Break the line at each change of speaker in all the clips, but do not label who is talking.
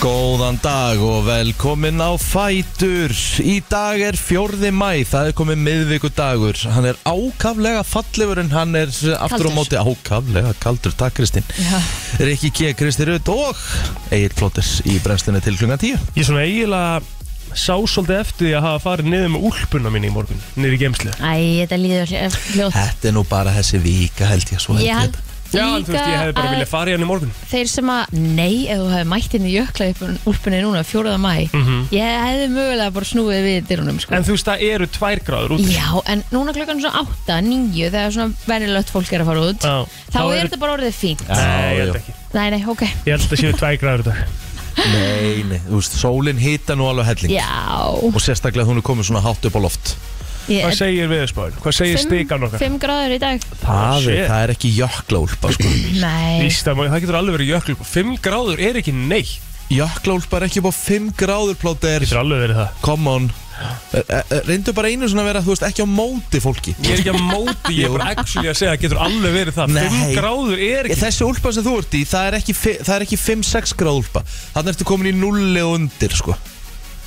Góðan dag og velkomin á Fætur Í dag er fjórði mæ, það er komið miðvikudagur Hann er ákaflega fallegur en hann er aftur á
Kaldur.
móti ákaflega kaldur Takk Kristín
Já.
Rikki K. Kristi Rutt og Egil Flóters í brennslunni til klungan 10
Ég svona eiginlega sá svolítið eftir því að hafa farið niður með úlpuna minni í morgun, niður í geimslu.
Æ, þetta líður eh, fljótt
Þetta er nú bara þessi vika held ég svo held
Ég held
Já, en þú veist, ég hefði bara
að
viljað farið hann í morgun.
þeir sem að, nei, ef þú hefði mætt inn í jökla úlpunni núna 4. mæ ég hefði mögulega bara snúið við dyrunum sko.
Mhm. En þú veist, það eru tvær gráður út.
Já, en núna klukkan er svona 8, 9 þegar svona venjulegt fólk er að fara út
Já.
þá
Þá
er
eru-
þetta bara orðið fínt
Nei, ég
Já,
held
já.
ekki.
Nei, nei, ok
Ég held að það séu tvær gráður í dag.
Nei, nei, þú veist, sólin hita nú alveg helling
Já,
Og sérstaklega hún er komin svona hátt upp á loft
ég
Hvað segir viðspáin? Hvað segir stikan okkar?
5 gráður í dag
Það er,
Shit.
það er ekki jöklaúlpa sko
Nei,
Ísta, það getur alveg verið jökul. Fimm gráður er ekki neitt.
Jöklaúlpa er ekki upp á 5 gráður plóter
Getur alveg verið það.
come on Eh, eh, eh, reyndu bara einu svona að vera, þú veist, ekki á móti fólki
Ég er ekki að móti, ég er bara actually að segja að getur alveg verið það.
Nei.
Fimm gráður er ekki.
þessi úlpa sem þú ert í, það er ekki, fi- það er ekki 5-6 gráð úlpa þannig ertu komin í nulli og undir sko.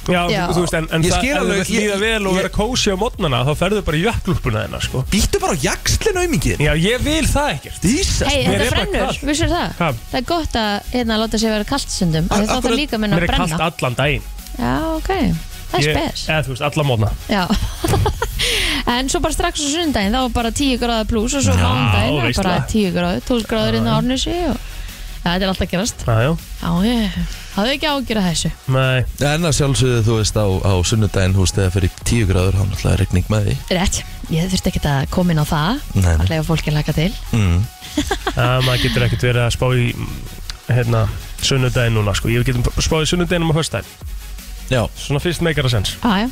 Já,
Já.
þú veist, en, en
Ég
það,
skil
ef þú
alveg,
veist
ég-
líða vel og
ég-
vera kósi á mótnana, þá ferðu bara í jökulúlpuna þeirna, sko.
býttu bara á jakslinu auðmingið
Já, ég vil það ekkert.
Ísast,
hei,
Mér
þetta
er bara
brennur,
kalt.
vissur það?
Hvað?
Það er gott að hérna láta sér vera kalt stundum af því þá þarf
akkurat-
líka minna
Mér
að
er kallt
brenna
allan daginn.
Já, ok, það er
Ég-
spes
Eða þú veist, alla mótna
Já En svo bara strax á sundaginn þá var bara 10 gráða pluss og svo
Já,
mándaginn var
veistla.
bara 10 gráður, 12 gráður inn á Árnesi og ja, þetta er alltaf að gerast
Jájá,
Já, ég hafði ekki ágjur að þessu
nei
en að sjálfsögðu þú veist á, á sunnudaginn þú veist þegar fyrir 10 gráður þá er náttúrulega regning með því
Rétt, ég þurfti ekki að koma inn á það
Nei, nei.
að lega fólki að laka til
mm.
að Ah, maður getur ekkert verið að spá í mm, hérna, sunnudaginn núna sko. ég getum spáð í sunnudaginn um að höstæn
já,
svona fyrst meikara sens
Já, já,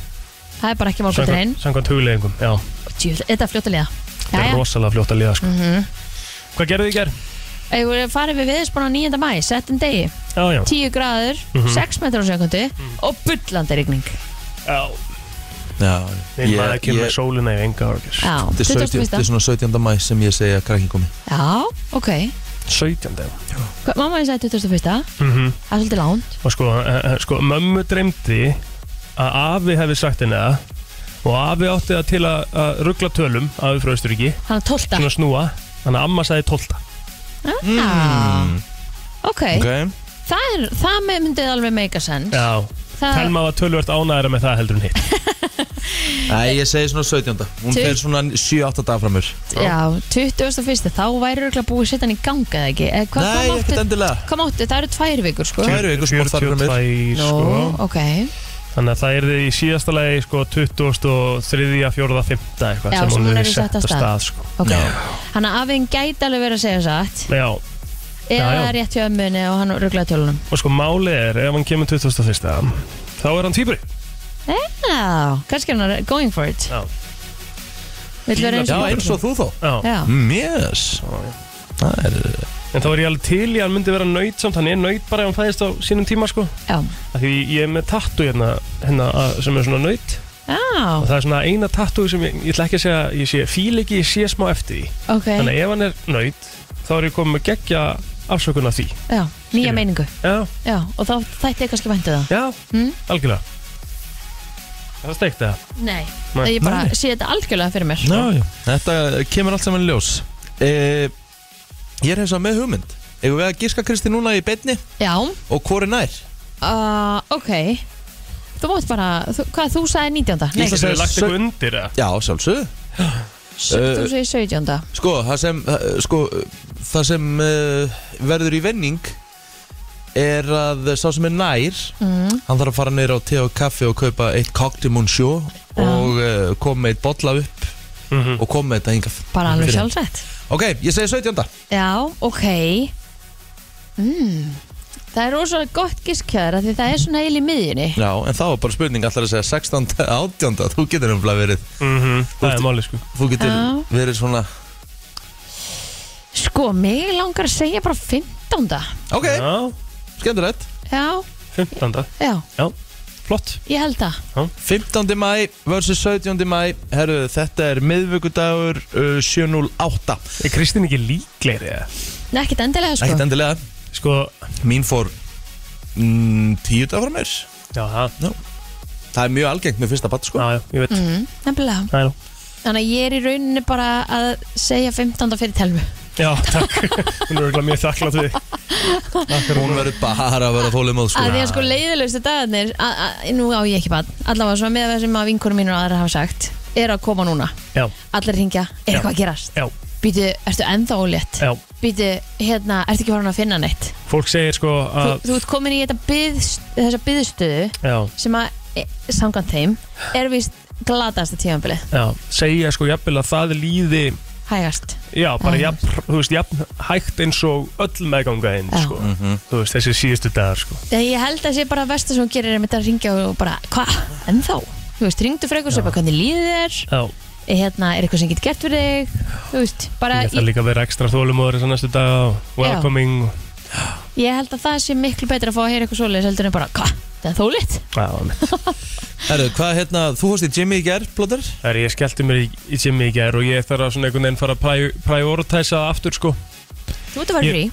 það er bara ekki málkvæmt reyn
samkvæmt hugleggingum, já,
Djúl, þetta er fljótt að Mhm. liða
það er
Jæja,
rosalega fljótt að liða
Mm.
sko. hvað gerðu þið í ger?
ef við farið við viðspun á 9. mæ, settum degi
Já, já, Mhm.
10 gráður, 6 metrar á sekundi og bullandi rigning
já.
já
Minn maður kemur
ég,
sólina í enga árgis
Já,
þetta er 17 þetta er
21.
svona 17. mæ sem ég segi að krakkin komi
Já, ok
17 dag
Hva- Mamma ég sagði 21.
mm
Það er svolítið lánt
og sko, eh, eh, sko mömmu dreymdi að afi hefði sagt henni það og afi átti það til að, að ruggla tölum afi frá Östuríki,
Hann er 12.
svona snúa þannig að amma sagði 12
Ah, ok,
Hmm. Mm. ok,
Það, er, það með- myndi alveg meika sens
já,
Það
Telma var tölvört ánæðara með það heldur en hitt
Nei, ég segi svona 17. hún
Til-
fer svona 7-8 dag framur
Já, 21. Þá væri röglega búið að setja hann í ganga eða ekki Eða Hvað
nei,
hvað
ekkert
máttu?
endilega
Hvað máttu? Það eru tvær vikur sko
Tvær- eru ykkur spór þar fram yfir.
42,
Nú,
sko.
ok
Þannig að það er í síðasta lagi sko, 23, 4, 5 eitthvað,
Já,
sem hún er í
sett
setta
af stað.
stað sko.
Ok,
Já.
hann að afinn gæti alveg verið að segja satt
Já,
eða
Já, já.
það er rétt hjá ömmunni og hann rugglaði tölunum
og sko málið er ef hann kemur 21. þá er hann týpur
Já, kannski er hann going for it
Já.
Vill vera eins
já,
og
eins og þú þó
Já.
Já,
Mm, yes Það er eh,
En þá er ég alveg til í að hann myndi vera nöyt samt hann er nöyt bara ef hann fæðist á sínum tíma sko.
já,
Af Því ég er með tattu hérna, hérna að- sem er svona nöyt
já,
og það er svona eina tattu sem ég, ég ætla ekki að segja ég sé, fíl ekki, ég sé smá eftir því
ok
Þannig að ef hann er nöyt þá er ég komið með geggja afsökun af því
Já, nýja
Skilur.
meiningu
Já,
Já, og þá þætti ég kannski væntu það
já,
Mm.
algjörlega Er það steikt eða?
Nei,
Nei.
ég bara
Nei.
sé þetta algjörlega fyrir mér
já, já. Þetta kemur allt saman í ljós e, Ég er hins að með hugmynd Eigum við að gíska Kristi núna í beinni
Já,
og hvor er nær?
uh, ok Þú mátt bara, þú, hvað þú sagði 19. Nei,
Íslands-
Getur
sagði
við lagt
sög-
eitthvað undir eða?
Já, sjálfsög
þú
eh,
segir 17.
Sko, það sem, eh, sko, það sem uh, verður í venning er að sá sem er nær
Mm.
hann þarf að fara neyra á te og kaffi og kaupa eitt cocktail munnsjó og uh, koma með eitt bolla upp
Mm
og koma með þetta hingað
Bara alveg
Fyrir.
sjálfsett
Ok, ég segi 17.
Já, ok mm. Það er rosalega gott giskjöður Því það er svona eil í miðjunni
Já, en þá er bara spurning allar að segja 16. 18. Þú getur umflað verið
Það er máli sko
Þú getur
Já.
verið svona
Sko, mig langar að segja bara 15.
Ok,
Já,
skemmtilegt
Já,
15.
já,
Já, flott
ég held það
15. mæ versus 17. mæ Herru, þetta er miðvikudagur uh, 708
Er Kristín ekki líklegri eða?
Nei, ekkert endilega sko
Ekkert endilega
Sko,
Mín fór mm, tíu dagar frá mér
Já, það,
það er mjög algengt með fyrsta batt sko
já, já, ég veit
mm, Nefnilega
Það er nú
Þannig að ég er í rauninni bara að segja 15. fyrir telmu
Já, takk Hún er örgulega mjög þakklátt við
hún verður bara að vera þólimóð sko
að því að sko leiðilegustu dagarnir a, a, nú á ég ekki bann, allavega svona með það sem að vinkunum mínur og aðra hafa sagt er að koma núna,
Já,
allir ringja er
Já.
eitthvað að gerast,
já,
býtu, ertu ennþá ólétt
já
býtu, hérna, ertu ekki farin að finna neitt
Fólk segir sko
þú,
að
þú ert komin í þetta byð, þessa byðstöðu
Já,
sem að, e, samkvæmt þeim er vist glatasta tímanbili
já Segja sko jafnvel að það líði
hægast,
Já, bara
Já.
jafn, þú veist, jafn hægt eins og öll meðganga hinn,
Já.
sko
Mhm.
Þú veist, þessi síðustu dagar, sko
þegar ég held að sé bara að versta sem hún gerir er með þetta að ringja og bara hvað, ennþá, þú veist, ringdu frekur sem bara hvernig líðið er,
Já,
hérna, er eitthvað sem getur gert fyrir þig, þú veist, bara
það er líka að vera ekstra þólumóður þess að næstu dag og welcoming og-
Ég held að það sé miklu betra að fá að heyra eitthvað svoleiðis heldur en bara, hvað, það er þólitt
Já, einmitt.
Herru, hvað hérna, þú fost í Jimmy í ger, Blóður?
Það er ég skellti mér í, í Jimmy í gær og ég þarf að svona einhvern veginn fara að pri- prioritæsa það aftur sko.
Þú ert að fara í frí,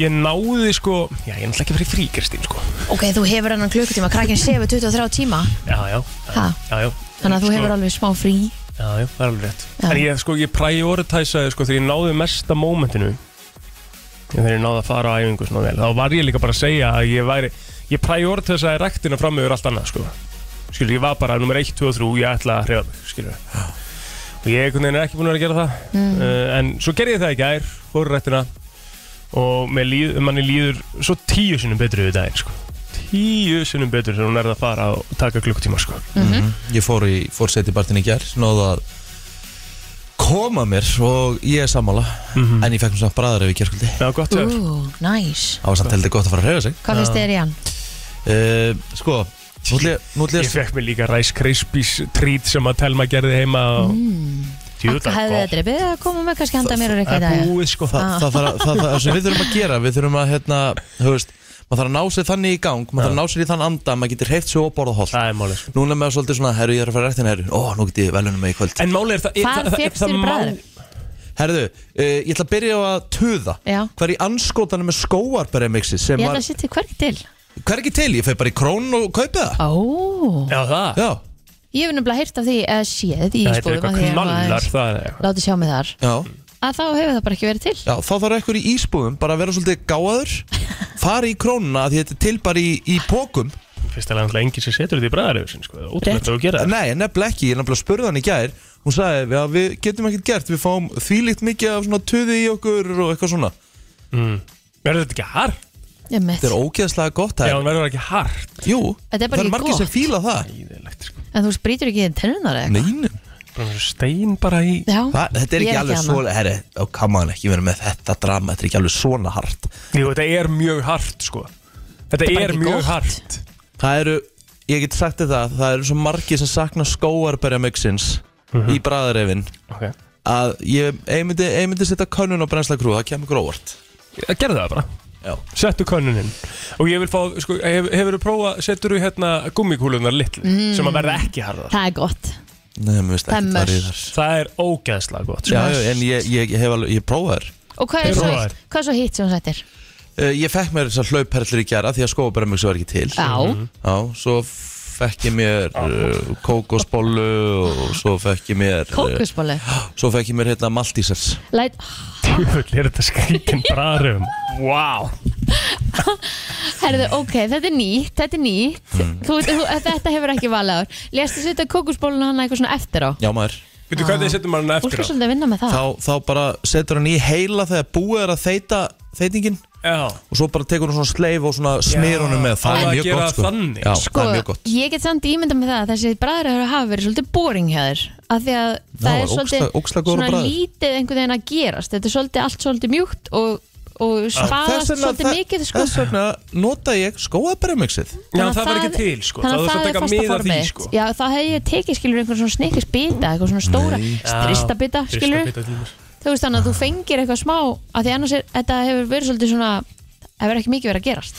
Ég náði sko, já ég er náttúrulega ekki að fara í frí Kristín sko.
ok, þú hefur annan klukkutíma krakkin sefur 23 tíma,
Já, já,
ha,
já, já.
þannig
Sko.
að þú hefur alveg smá frí
Já, já, það er alveg rétt.
Já.
En ég sko, ég prioritæsaði sko þegar ég náði mesta mómentinu. Þegar ég náði að fara á æfingu svona vel. Þá var ég líka bara að segja að ég væri, ég prioritæsaði rektina fram yfir allt annað sko. Skilur, ég var bara nummer 1, 2 og 3, ég ætla að hreyfa mig, skilur. Og ég einhvern veginn er ekki búin að vera að gera það.
mm.
uh, en svo gerði ég það í gær fór í rættina og mér líð, manni líður svo tíu sinnum betur yfir daginn sko. tíu sinnum betur þegar hún er að fara og taka klukktíma sko.
Mm
Mhm. Ég fór í fórseti partin í ger Náðu að koma mér og ég er sammála
mm
En ég fekk mér samt bræðar ef í gerkvöldi
Já, gott
Ú,
hefur
næs,
Það var samt heldur gott að fara að reyða sig
hvað finnst
Já.
þér í hann?
uh, Sko, nú ætlum ég- nú ætlum
Ég
ég
fekk mér líka Rice Krispies trít sem að Telma gerði heima og
Mm.
djúðlega
Akka hefði þetta beðið að koma með kannski handa mér og reyka í dag
búið sko
Þa,
Ah.
það, það, það, það, það sem við þurfum að gera Við þurfum að, hérna, þú veist Maður þarf að ná sér þannig í gang Maður þarf að ná sér í þann anda Maður getur heift sér og borða holt
Það er málið sko
Núna með svolítið svona, herru, ég er að fara rektin, herru Ó, nú get ég velunum mig í kvöld
En málið er það
Hvað
það- það-
fékkst
það
þér í
má-
bragðinu?
Herðu, uh, ég ætla að byrja á að tuða
Já,
Hvað er í anskótanum með skóarberemixi sem
ég
var
ætla að sitja hvergi til
Hvað er ekki til? Ég feg bara í krón og kaupi það
Ó,
Já það
Já,
ég hef nefnilega heyrt af því að séð í
Það er
spóðum
eitthvað knallar það er eitthvað.
Láttu sjá mig þar
já,
að þá hefur það bara ekki verið til
já Þá þarf ekkur í ísbúðum bara að vera svolítið gáður Fara í krónuna af því þetta er til bara í, í pókum
Fyrst að langtlega enginn sem setur þetta í bræðar yfir sko. Ótrúlega þú gera það
Nei, nefnilega ekki, ég nefnilega spurði hann í gær Hún sagði, já, við getum ekkert gert Við fáum þvílíkt mikið af svona tuði í okkur og eitthvað svona
Mm. Verður þetta ekki hardt?
Þetta er
Einmitt.
ógeðslega gott
Já,
það
hún verður ekki hart
Jú,
Þetta er bara
það er
ekki
margir sem
gott.
fíla það
Íðilegt sko
En þú sprítur ekki í tennunar eða?
Nein,
Bara eins og stein bara í
Já,
það, þetta er
ég
ekki alveg
annað.
svo Herri, ó, come on, ekki vera með þetta drama Þetta er ekki alveg svona hart
Jú, þetta er mjög hart sko Þetta
bara
er
ekki
mjög
gott.
hart
Það eru, ég get sagt þér það Það eru svo margir sem sakna skóarberjamöksins
Mhm.
Í bræðarefin
okay.
Að ég, ég myndi, ég myndi setja könnun á brennsla krú Það kemur gróvart
Gerðu það bara
Já
Settu könnuninn Og ég vil fá, sko, hef, hefur þú prófað Settur þú hérna gummikúlunar litlu Sem að
Mm.
verða ekki harðar
það er gott
Nei, mér veist
Það er
ekki það
mörs.
reyðar
Það er ógeðslega gott sko.
Já, já, en ég, ég, ég hef alveg, ég prófaði þær
Og hvað er
Ég
svo,
prófaði.
hvað er svo hitt sem hún sættir?
uh, Ég fekk mér þessar hlauperlur í gera Því að skóarberjamöksi var ekki til Mhm.
Já,
Já, svo fekk ég mér uh, kókosbollu Og svo fekk ég mér uh,
kókusbólu
Svo fekk ég mér hérna maltísers
Læt,
Djöfull er þetta skrítin bræðarum
Mm.
Vá
herðu, ok, þetta er nýtt Þetta er nýtt
Mm.
þú, þú, Þetta hefur ekki valið ár Lestu setja kókusbóluna hann eitthvað svona eftir á
Já, maður
Veitu hvað þið settum hann
Þú
eftir
skal
á?
svolítið vinna með það
þá, þá bara setur hann í heila Þegar búið er að þeita þeitingin
Já
og svo bara tekur hún svona sleif og svona smýr honum með það
á
er
að
mjög
gera
gott sko.
þannig.
Já,
Sko,
það er mjög gott
ég get samt ímynda með það að Þessi bræður hefur hafa verið svolítið boring hjá þér Af því að það
var
er svolítið
ógeðslega- ógeðslega góður
Svona
bragður.
lítið einhvern veginn að gerast Þetta er svolítið allt svolítið mjúkt Og, og spaðast svolítið
það-
mikið sko.
þess vegna nota ég skóabremixið
Já,
Þannig að
það var ekki til sko
Þannig að
þarfst
það, er
að taka
fasta
mið af því,
formið
sko.
Já, þá hefði ég tekið skilur einhvern svona snikkisbita eitthvað svona stóra stristabita skilur
Ristabita til mér.
Þú veist þannig að þú fengir eitthvað smá af því annars er, þetta hefur verið svolítið svona hefur ekki mikið verið að gerast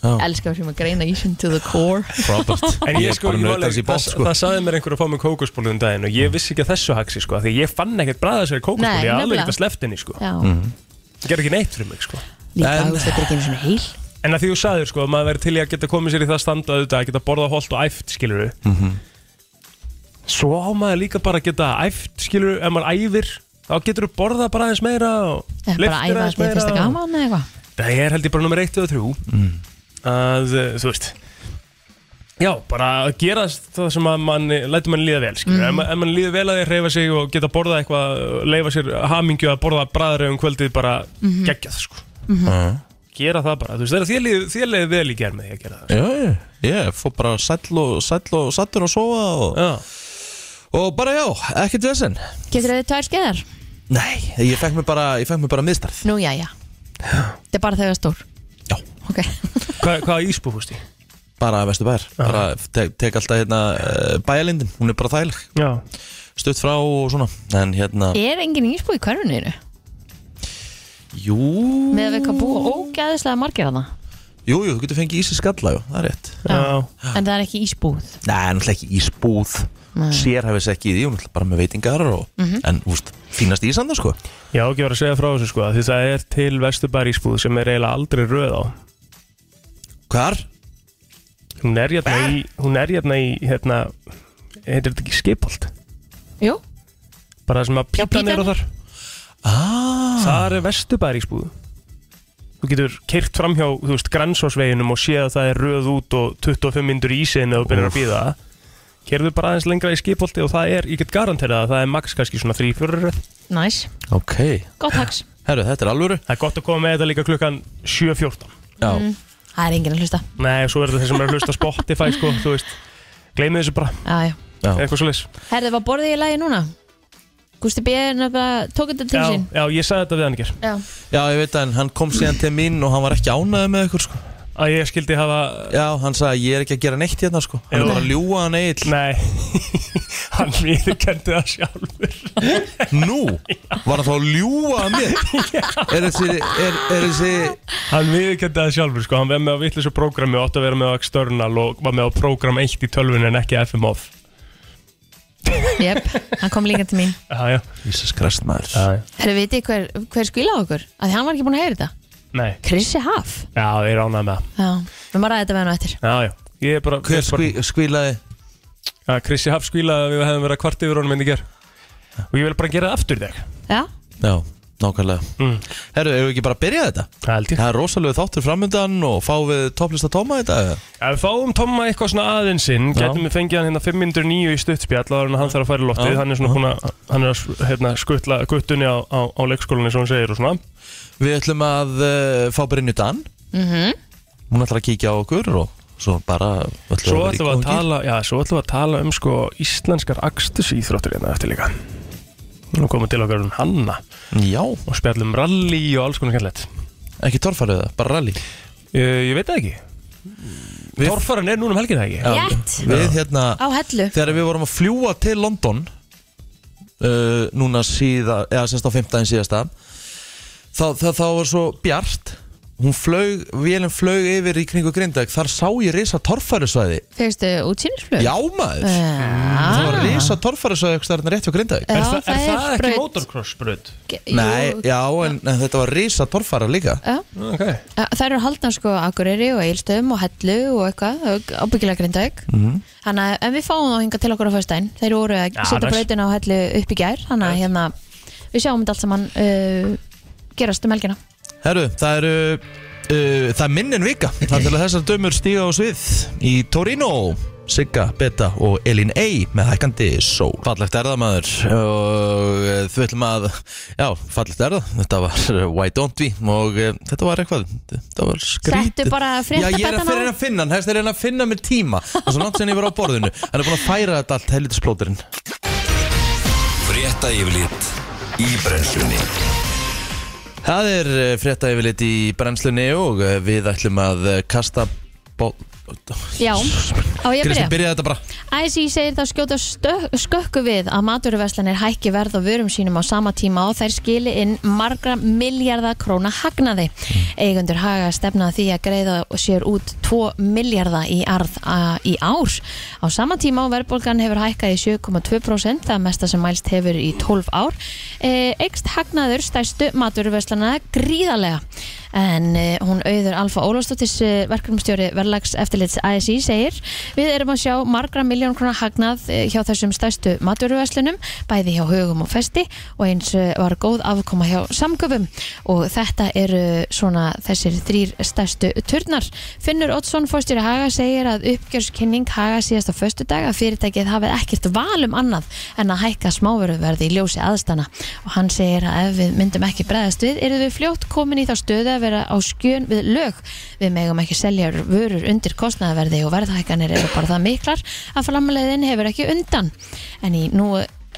Elskar sem að greina ísinn to the core
Robert,
En ég sko, ég var
bara nauta
alveg,
þessi bótt
það,
sko.
það saði mér einhver að fá mig kókosbólu um daginn og ég vissi ekki að þessu haxi sko, af því ég fann ekkert bræða sér
Nei,
kókosbólu, ég
nefnilega.
hafði
Mhm.
alveg ekkert að sleft henni sko,
Já,
ég ger ekki neitt fyrir mig sko.
líka
En-
þú veist þetta er ekki einu svona heil
En að því þú sagðir sko, að maður verið til í að geta komið sér í það standa auðvitað, að geta borðað holt og æft, skilur við. Svo á maður líka bara að geta æft, skilur við, ef maður æfir, þá getur þú borðað bara aðeins meira og
Eða bara æfa að þið finnst það gaman eða eitthvað
Það er held ég bara nummer 1 og 3 að, uh, þú veist Já, bara að gera það sem að mann, lætur mann líða vel mm. ef, ma- ef mann líður vel að því að reyfa sig og geta borðað eitthvað, leifa sér hamingju að borða bræðaröfum kvöldið bara
Mm.
geggjað sko.
Mhm.
gera það bara, þú veist, þegar þér líður- þér leiði vel í gerð með því að gera það sko.
Já, já, ég fór bara sæll og sæll og sattur og sofa og,
Já,
og bara já, ekkert vesen
Getur þið tvær skeiðar?
Nei, ég fekk mér bara, ég fekk mér bara miðstarð
Nú, já, já Þetta er bara þegar stór
Já.
Ok
Hva, hvað ísbú fúst ég?
bara að vestu bæjar, bara te tek alltaf hérna uh, bæjarlindin, hún er bara þægileg
Já,
stutt frá og svona, en hérna
Er engin ísbú í hverfinu?
Jú,
Með við hvað búa ógæðislega margir hana
jú, jú, þú getur fengið ís í skalla, jú, það er rétt
já,
En það er ekki ísbúð
Nei, náttúrulega ekki ísbúð
Nei.
Sérhæfis ekki í því, hún er bara með veitingar og, En, úst, fínast ísanda sko
já, ekki var að segja frá þessu sko, af því það er til vesturbær ísbúð sem er eiginlega aldrei röð á
Hvar?
Hún er hérna í, hún er hérna í, hérna, heitir þetta ekki skipolt?
Jú
Bara það sem að
Já,
pítan er á
Pítan.
þar.
Ah,
Þar er vestubæri ísbúðu. Þú getur keirt framhjá, þú veist, grænsásveginum og séð að það er röð út og 25 myndur í ísinn eða þú byrjar að býða. Kerðu bara aðeins lengra í skipolti og það er, ég get garanterað að það er max kannski svona 3-4 röð.
Næs
ok
Gott hags
Herru, þetta er alvöru
Það er gott að koma með þetta líka klukkan 7.14.
Já,
Mm. Það er engin að hlusta
Nei, svo er þetta þeir sem er að hlusta á Spotify, sko, þú veist. Gleymið þessu bara,
Já, já
eitthvað svolítið.
Herðu, var borðið í lagi núna? Gusti B. er nefnilega tók þetta til
Já,
sín
já, ég sagði þetta við hann ekki.
Já
já ég veit að en hann kom síðan til mín og hann var ekki ánæðið með ykkur sko
Að ég skildi hafa
Já, hann sagði ég er ekki að gera neitt hérna sko Hann er
Jú.
bara að ljúa hann eill
Nei, hann viðurkendi það sjálfur
Nú, var hann þá að ljúa hann mér Er þessi, er, er þessi
Hann viðurkendi það sjálfur, sko, hann var með á vittlisu prógrami og átti að vera með á external og var með á prógram 1 í tölvun en ekki FMOF
Jep, hann kom líka til mín
Já, já,
Jesus Christ maður
já, já.
Herðu, vitið hver, hver skvílaði okkur? Að því hann var ekki búin að heyra þetta
Nei,
Krissi Haf
já, ég ránaði með það
Já, við maður ræði þetta við hann á eftir
Já, já, ég er bara
Hver
bara-
skví, skvílaði
Já, Krissi Haf skvílaði að við hefðum verið að kvart yfir honum en ég ger Og ég vil bara gera það aftur í dag
Já,
Já, nákvæmlega
Mm.
Herru, hefur ekki bara að byrja þetta?
Það held ég
Það er rosalegu þáttur framöndan og fá við topplista Tóma í dag
Ef við fáum Tomma eitthvað svona aðeinsinn
Já.
Gætum við fengið hann hérna 509 í stuttspjall áður en hann þarf að fara í loftið
Já.
Hann er svona búin að, hann er að hérna, skuttla guttunni á, á, á leikskólinni svo hann segir og svona
Við ætlum að uh, fá Brynju Dan -hmm. Hún ætlar að kíkja á okkur og svo bara
Svo ætlum við að tala, já, svo ætlum við að tala um sko íslenskar akstusíþróttur hérna eftir líka. Nú komum til okkar um Hanna
Já,
og spjallum rally og alls konar kærleitt.
ekki torfarið það, bara rally
Uh,
Eh,
ég veit það ekki.
Við-
Torfaran er núna um helgina ekki.
rétt
Við hérna,
Á hellu
þegar við vorum að fljúa til London uh, Núna síða, eða semst á 15 síðasta Þá, þá, þá var svo Bjart Hún flög, vélum flög yfir í kringu Grindag Þar sá ég risa torfærisvæði
Fegstu útsýnisflug?
Já maður Það
Það
var risa torfærisvæði ekki þarna rétt hjá Grindag
Er, þa er það ekki
braut.
motocross bröð?
Ge-
Nei,
jú,
já, en, en þetta var risa torfæra líka
já.
Ok.
Æ, Þær eru haldnar sko Akureyri og Eilstöðum og Hellu og eitthvað ábyggilega grindauk
Mhm.
mm. Þannig að en við fáum þá hinga til okkur á föstudaginn Þeir voru að
Ja,
setja
nice.
brautina á Hellu upp í gær Þannig að hérna við sjáum þetta allt saman uh, gerast um helgina
Herru, það eru uh, Það er minn en vika Þar til að þessar dömur stíga á svið Í Torino Sigga, Beta og Elin A með hækandi sól Fallegt er það maður og uh, þú ætlum að já, fallegt er það, þetta var uh, Why Don't We og uh, þetta var eitthvað þetta var skrítið
Settu bara
Já, ég er
fréttabetana
að fyrir að finna hann, hefst er að finna mér tíma og svo langt sem ég var á borðinu hann er búin að færa þetta allt helvitisplóturinn
Frétta yfirlit í brennslunni
Það er frétta yfirlit í brennslunni og eh, við ætlum að eh, kasta bó...
Já, á ég að
Kristi,
byrja
byrjaði þetta bara
ISI E segir þá skjóta stö- skökku við að maturverslanir hækki verð á vörum sínum á sama tíma og þær skili inn margra miljardar króna hagnaði. Eigundur haga stefna að því að greiða sér út 2 miljardar í arð a, í ár. Á sama tíma og verðbólgan hefur hækkað í 7,2% það mesta sem mælst hefur í 12 ár. E, Eikst hagnaður stæstu maturverslana gríðarlega. en uh, hún auður Alfa Ólafsdóttis uh, verkefnumstjóri verðlags eftirlits ASI segir við erum að sjá margra miljón krona hagnað uh, hjá þessum stærstu maturverslunum bæði hjá hugum og festi og eins uh, var góð afkoma hjá samköpum og þetta eru svona þessir þrýr stærstu turnar Finnur Oddsson fórstjóri Haga segir að uppgjörskinning Haga síðasta föstudag að fyrirtækið hafið ekkert val um annað en að hækka smáveruverði í ljósi aðstana og hann segir að ef við myndum ekki bregðast við erum við fljótt komin í þá stöðu að vera á skjön við lög við megum ekki selja vörur undir kostnaðverði og verðhækkanir eru bara það miklar að framleiðin hefur ekki undan en í nú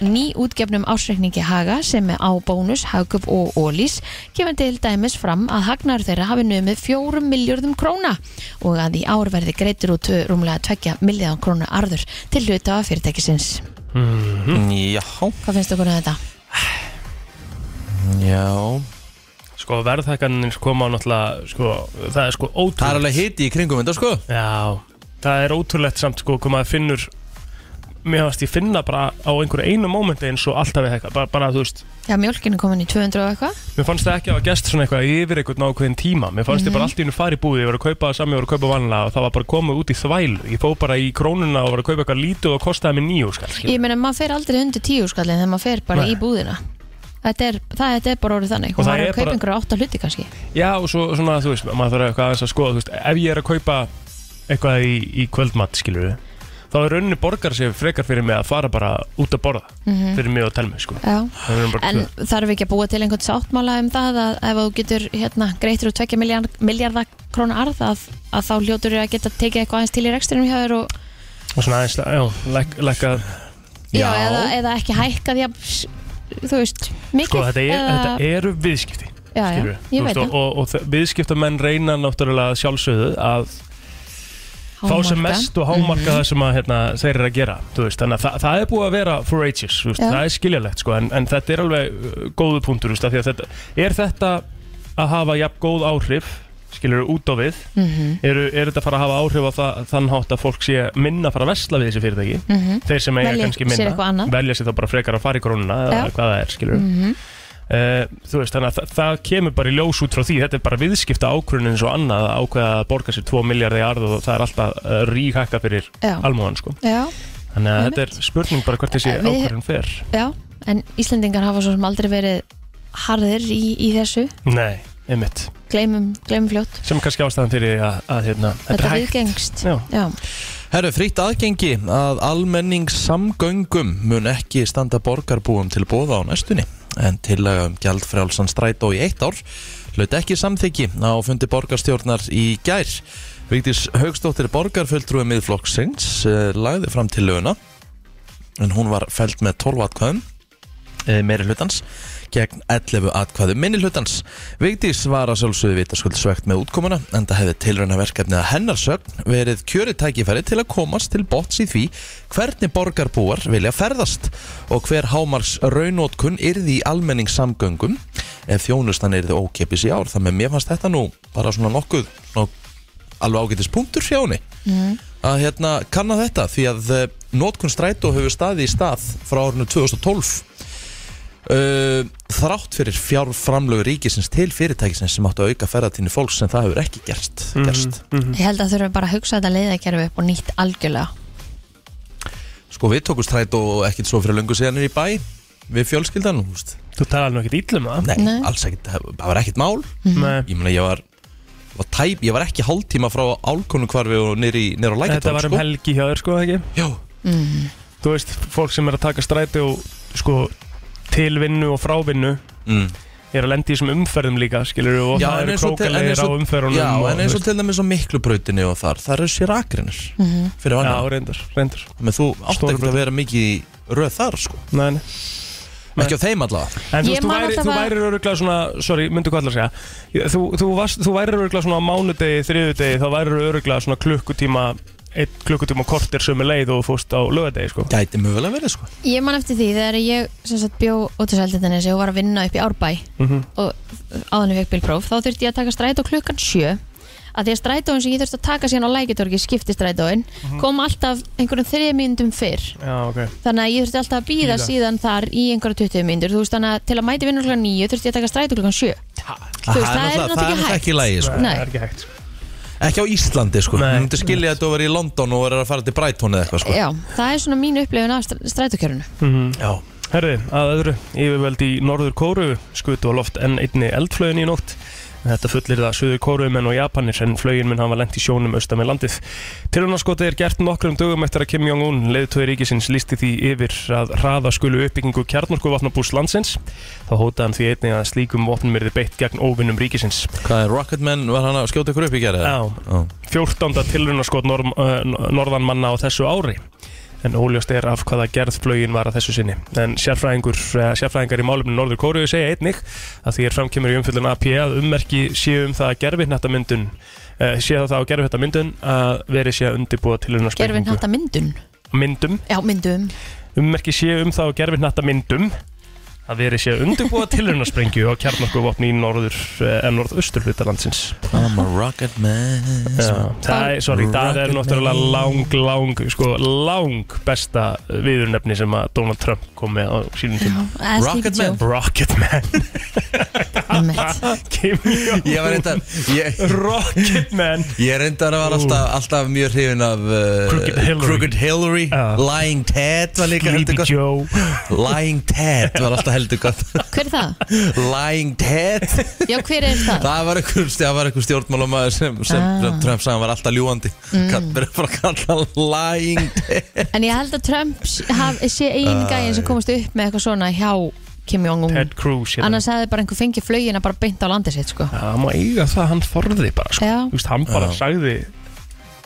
ný útgefnum ásreikningi Haga sem er á bónus, hagköp og ólís kemur til dæmis fram að hagnar þeirra hafi numið 4 miljörðum króna og að í ár verði greitur út rúmlega 2 miljörðum króna arður til hluta af fyrirtækisins.
Mhm.
Mm, Já,
Hvað finnst okkur um þetta?
já
Sko verðhækkanir koma á náttúrulega sko, Það er sko
Það er
ótrúlegt
alveg hiti í kringum þetta sko
Já, það er ótrúlegt samt sko Hvað maður finnur Mér hafast ég finna bara á einhverju einu mómenti eins og alltaf við hækka bara, bara þú veist
Já, mjölkin er komin í 200 og eitthvað.
Mér fannst það ekki að hafa gæst svona eitthvað yfir eitthvað nákvæðin tíma Mér fannst ég bara allt í hennu fari í búið Ég var að kaupa það sami, ég var að kaupa vanlega Og það var bara komið út í þvælu Ég fóð bara í krónuna og var að kaupa eitthvað lítið og kostaði mig nýjú skall skilur.
Ég meina, maður fer aldrei undir 10 skallin þegar maður fer bara
Nei.
í búðina. Þetta er, það, þetta er bara orðið þannig. Og
Og það
maður er að
er
kaupa
bara-
einhverja átta hluti kannski.
Já og svo svona þú veist Maður þarf eitthvað aðeins að skoða þú veist, Ef ég er að kaupa eitthvað í, í kvöldmatt skilur við Þá er rauninni borgar sér frekar fyrir mig að fara bara út að borða Fyrir mig og telmi sko
Mhm. Já.
Það er bara
En
tvö.
þarf ekki að búa til einhvern sáttmála um það að ef þú getur hérna, greitur úr 2 miljard, miljardar krónu arð að, að þá hljótur að geta tekið eitthvað aðeins til í rekstrinum hjá þér og
Og svona aðeins, já, legg, legg að
já, eða, eða ekki hækkað já, þú veist, mikið
Sko þetta, er,
eða,
þetta eru viðskipti
já, já,
skilurðu. Þú
ég veit
veist, og,
það
og, og þe- viðskiptamenn reyna náttúrulega að sjálfsögðu að fá
Hámarka.
sem
Mhm.
mest og hámarka það sem að, hérna, þeir eru að gera þú veist, þannig að þa það er búið að vera for ages, þú veist,
Já.
það er skiljalegt sko, en, en þetta er alveg uh, góðu punktur þú veist, af því að þetta, er þetta að hafa jafn góð áhrif skilur út á við,
Mhm,
eru, er þetta að fara að hafa áhrif á það, þann hátt að fólk sé minna að fara að vesla við þessi fyrirtæki
mhm,
þeir sem eiga
Velja
kannski
sér
minna
eitthvað annað.
velja sér þá bara frekar að fara í krónuna eða
Já.
hvað það er, skilur
mhm.
Uh, þú veist, þannig að þa það kemur bara í ljós út frá því þetta er bara viðskipta ákvörunin eins og annað að ákveða að borga sér 2 miljardi í arð og það er alltaf uh, ríhakka fyrir
Já,
almúðan sko.
já,
þannig að
Einmitt.
þetta er spurning bara hvert þessi
Eh, við-
ákvörun fer
já en Íslendingar hafa svo sem aldrei verið harðir í, í þessu,
Nei, einmitt,
gleymum, gleymum fljótt
sem er kannski ástæðan fyrir því að, að hérna, þetta
þetta
er hægt
viðgengst
Já,
já,
Herru, frítt aðgengi að almenningssamgöngum mun ekki standa borgarbúum til bóða á næstunni en tillaga um gjaldfrjálsan strætó í eitt ár hlaut ekki samþyggi á fundi borgarstjórnar í gær. Vigdís Haugstóttir borgarfulltrúi miðflokksins eh, lagði fram til löguna en hún var fælt með 12 atkvæðum eh, meiri hlutans gegn 11 atkvæðum minni hlutans. Vigdís var að sjálfsögðu vitaskuld svegt með útkomuna en það hefði tilröna verkefnið að hennar sögn verið kjöri tækifæri til að komast til botts í því hvernig borgarbúar vilja ferðast og hver hámars raunótkun yrði í almenningssamgöngum ef þjónustan yrði ókepis í ár. Þannig að mér fannst þetta nú bara svona nokkuð, nokkuð alveg ágætis punktur hjá henni að hérna kanna þetta því að eh, notkun strætó hefur staði í stað frá árinu 2012 Uh, þrátt fyrir fjárframlögu ríkisins til fyrirtækisins sem áttu að auka ferðatíni fólks sem það hefur ekki gerst,
Mhm.
gerst.
ég held að þurfum bara að hugsa þetta leiðakerfi upp og nýtt algjörlega
Sko við tókum strætó ekkert svo fyrir löngu síðan niður í bæ við fjölskyldan, þú veist
þú talar nú ekkert um ítlum að
Nei,
Nei.
alls ekkert, það það var ekkert mál
Mhm. Nei.
Ég meina ég var, var tæp, ég var ekki hálftíma frá álkonu hvarfi og niður, í, niður á
Þetta
lækartón
var um
sko.
helgi hjá þér sko, ekki?
Já,
Mm.
Þú veist, fólk sem er að taka stræti og sko til vinnu og frá vinnu
mm.
er að lendi í þessum umferðum líka, skilur og
Já,
það
en
eru
eins og til- en
krókalegir
eins
á
og-
umferðunum
Já,
og,
en
þú
eins og
veist,
til dæmis á miklubrautinni og þar, þar eru sér akrinir
Mhm.
fyrir
Já,
vannan,
reyndar, reyndar
menn þú átt
Stóru
ekkert að vera mikið í röð þar sko,
Nei, nei Nei.
ekki á þeim allavega
En þú,
Ég
veist, þú,
man
væri,
alltaf
þú
að-
værir öruglega svona, sorry, myndu hvað ætlar að segja Þú, þú, varst, þú værir öruglega svona á mánudegi, þriðudegi Þá værir öruglega svona klukkutíma Eitt klukkutíma og kortir sömu leið og þú fórst á lögadegi sko
Gæti mögulega verið sko
Ég man eftir því þegar ég sem sagt, bjó út í Sæltindanesi og var að vinna upp í Árbæ
Mhm.
og áðan ég fekk bílpróf þá þurfti ég að taka stræt og klukkan sjö að því að strætóin sem ég þurfti að taka síðan á lækitorgi skipti strætóin kom alltaf einhverjum þriðja mínundum fyrr
Já, ok
þannig að ég þurfti alltaf að býða
Bíða.
síðan þar í einhverja 20 mínútur þú veist þannig að til að mæti vinnur klokkan 9 þurfti ég að taka strætó klokkan 7 þú veist það er náttúrulega
ekki
ekki hægt
lægi sko.
Það
Nei.
er ekki hægt sko.
Ekki á Íslandi sko
Nei.
Þú myndir skilja að þú verið í London og verið að fara til Brighton eða eitthvað sko
Já, það er svona mín upplifun af strætókjörunu
Já
Herði, Mhm. að öðru, yfirveld í norður Kóru skutu á loft enn einni eldflögin í nótt Þetta fullir það suður Kórumenn og Japanir en flögin minn hafa lent í sjónum austan með landið. Tilhörnarskotið er gert nokkrum dögum eftir að Kim Jong-un, leiðtói ríkisins, lísti því yfir að hraða skulu uppbyggingu kjarnorkuvopnabús landsins. Þá hótaði hann því einnig að slíkum vopnum erði beitt gegn óvinnum ríkisins.
Hvað er Rocketman, var hann að skjóta ykkur upp í gerði?
Já, 14. tilrunarskot nor uh, norðanmanna á þessu ári en óljóst er af hvaða gerð flögin var að þessu sinni. En sérfræðingur, eh, sérfræðingar í málumni Norður Kóruðu segja einnig að því er framkemur í umfyllun AP að ummerki séu um það að gerfihnattamyndun uh, séu það á gerfihnattamyndun að veri sé að undirbúa
Gerfin
tilrunarsprengingu
hægt að myndun
myndum,
Já, myndum
ummerki séu um það á gerfihnattamyndum að veri sé að undirbúa tilrunarsprengu á kjarnarkuvopni í norður uh, en norðaustur hutalandsins.
I'm a Rocketman
Já, það er, sorry, það er
Rocket
náttúrulega
Man.
lang, lang, sko, lang besta viðurnefni sem að Donald Trump kom með á sínum tíma.
Rocketman.
Rocketman, Kim
Ég
Jong-un,
var reyndar Ég,
Rocketman,
ég reyndar var alltaf, alltaf mjög hrifin af uh,
Crooked Hillary.
Crooked Hillary.
Já.
Lying Ted var líka heldur
Sleepy
gott
Joe,
Lying Ted var alltaf heldur gott
Hver er það?
Lying Ted
Já, hver er það?
Það var einhver, það var einhver stjórnmálamaður sem, sem
Ah.
Trump sagði hann var alltaf ljúandi mm. Verður bara að kalla Lying Ted
En ég held að Trump s- haf, sé einu gæin sem komast upp með eitthvað svona hjá Kim Jong-un
Ted Cruz, hérna.
Annars hefði bara einhver fengið flögin að bara beint á landið sitt sko.
Já, Það má eiga það að hann forði bara, sko.
Já.
Þú veist, hann bara
Já.
sagði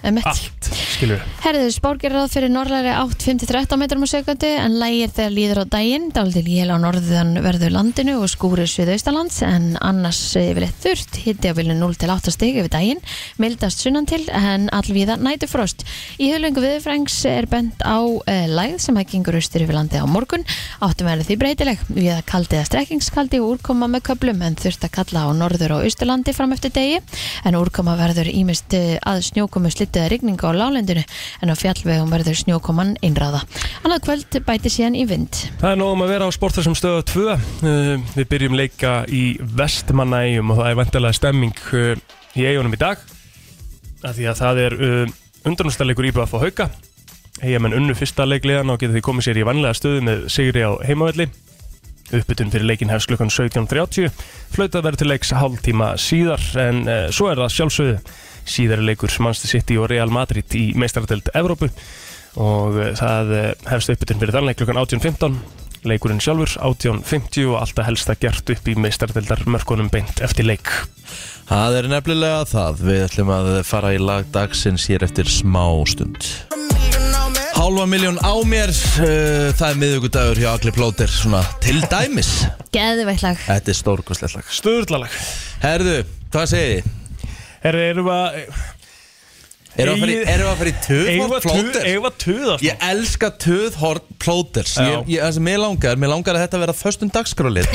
Emmett
allt, skilur við.
Herðu, spár gerir ráð fyrir norðlæri 8-5-13 metrum á sekundi en lægir þegar líður á daginn daldil jél á norðan verður landinu og skúrir suðaustalands en annars yfirleitt þurft, hitti á vilju 0-8 stig yfir daginn, mildast sunnan til en allvíða nætufrost Í höflöngu viðfrængs er bent á eh, lægð sem að gengur austur yfir landi á morgun áttum verður því breytileg við að kaldi eða strekkingskaldi og úrkoma með köplum en þurft að kalla á norður og austurlandi fram eftir degi en úrkoma verður ímist eh, að snjókomu slittuða rigninga á lálendinu en á fjallvegum verður snjókoman einráða. Annað kvöld bæti síðan í vind.
Það er nógum að vera á sport þessum stöðu 2. Uh, við byrjum leika í vestmannaegjum og það er vantilega stemming uh, í eigunum í dag. Af því að það er uh, undanústaleikur íbúið að fá hauka. Eigamenn unnu fyrsta leikliðan og geta því komið sér í vanlega stöðu með sigri á heimavelli. Uppbytun fyrir leikin hefst klukkan 17.30. Flautað verður til leiks hálftíma síðar en uh, svo er það sjálfsögðu síðari leikur Manchester City og Real Madrid í meistaradelt Evrópu og eh, það eh, hefst uppbytun fyrir þannig klukkan 18.15 leikurinn sjálfur 18.50 og alltaf helst að gert upp í meistaradeldar mörkunum beint eftir leik
Það er nefnilega það. Við ætlum að fara í lag dagsins hér eftir smá stund. Hálfa miljón á mér, uh, það er miðugudagur hjá Agli Plóter, svona til dæmis.
Geðveitt lag.
Þetta er stórkostlegt lag.
Stöðurlalag
Herðu, hvað segið þið?
Er, erum við
Erum við að fara í-
Eigið-
erum við að fara í töðhorn Plóter?
að tuða
Ég elska töðhorn Plóters.
Já.
Ég, ég, það sem ég langar, mér langar að þetta vera föstum dagskrálið.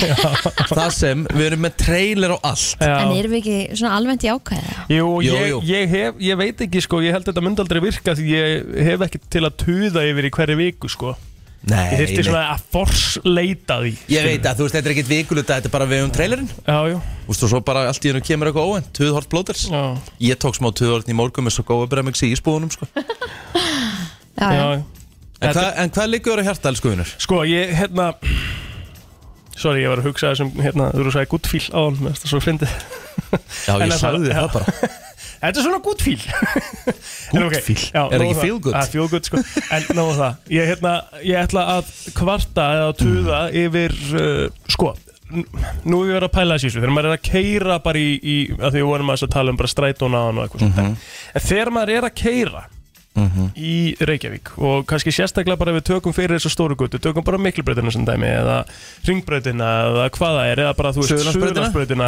það sem við erum með trailer og allt.
En
Já.
erum við ekki svona almennt í ákvæða?
Jú,
Jú,
ég,
jú.
Ég, hef, ég veit ekki sko, ég held þetta myndi aldrei virka því ég hef ekki til að tuða yfir í hverju viku sko
Nei,
Ég þurfti
nei.
svona að forsleita því
Ég veit að þú veist, þetta er ekkert vikulut þetta er bara við um trailerinn.
Já, já,
Þú veist, og svo bara allt í hennu kemur eitthvað óvænt, Töðhort Plóters.
já,
Ég tók smá töðorðin í morgun með svo góða bremix í ísbúðunum sko.
Já,
já.
já.
En, hva, en hvað liggur þér á hjarta, elsku vinnur?
Sko, ég, hérna Sorry, ég var að hugsa þessum, hérna, þú eru að segja guttfíl á hann, það er svo fyndið
Já,
En
ég
það-
sagði þér
já.
það bara
Þetta er svona guttfíl En ok,
Guttfíl?
já, nóg
Er það
um
ekki
það.
feel good?
Að feel good, sko En náðu það, ég, hérna, ég ætla að kvarta eða tuða
Mm.
yfir, uh, sko n- Nú er ég verið að pæla þessi þessu, þegar maður er að keira bara í, í að því við vorum aðeins að tala um bara strætóna á hann og eitthvað mm
Mhm.
En þegar maður er að keira í Reykjavík og kannski sérstaklega bara við tökum fyrir þessu stóru guttu, tökum bara miklubrautina sem dæmi eða ringbrautina eða hvaða er eða bara þú veist,
Suðurlandsbrautina?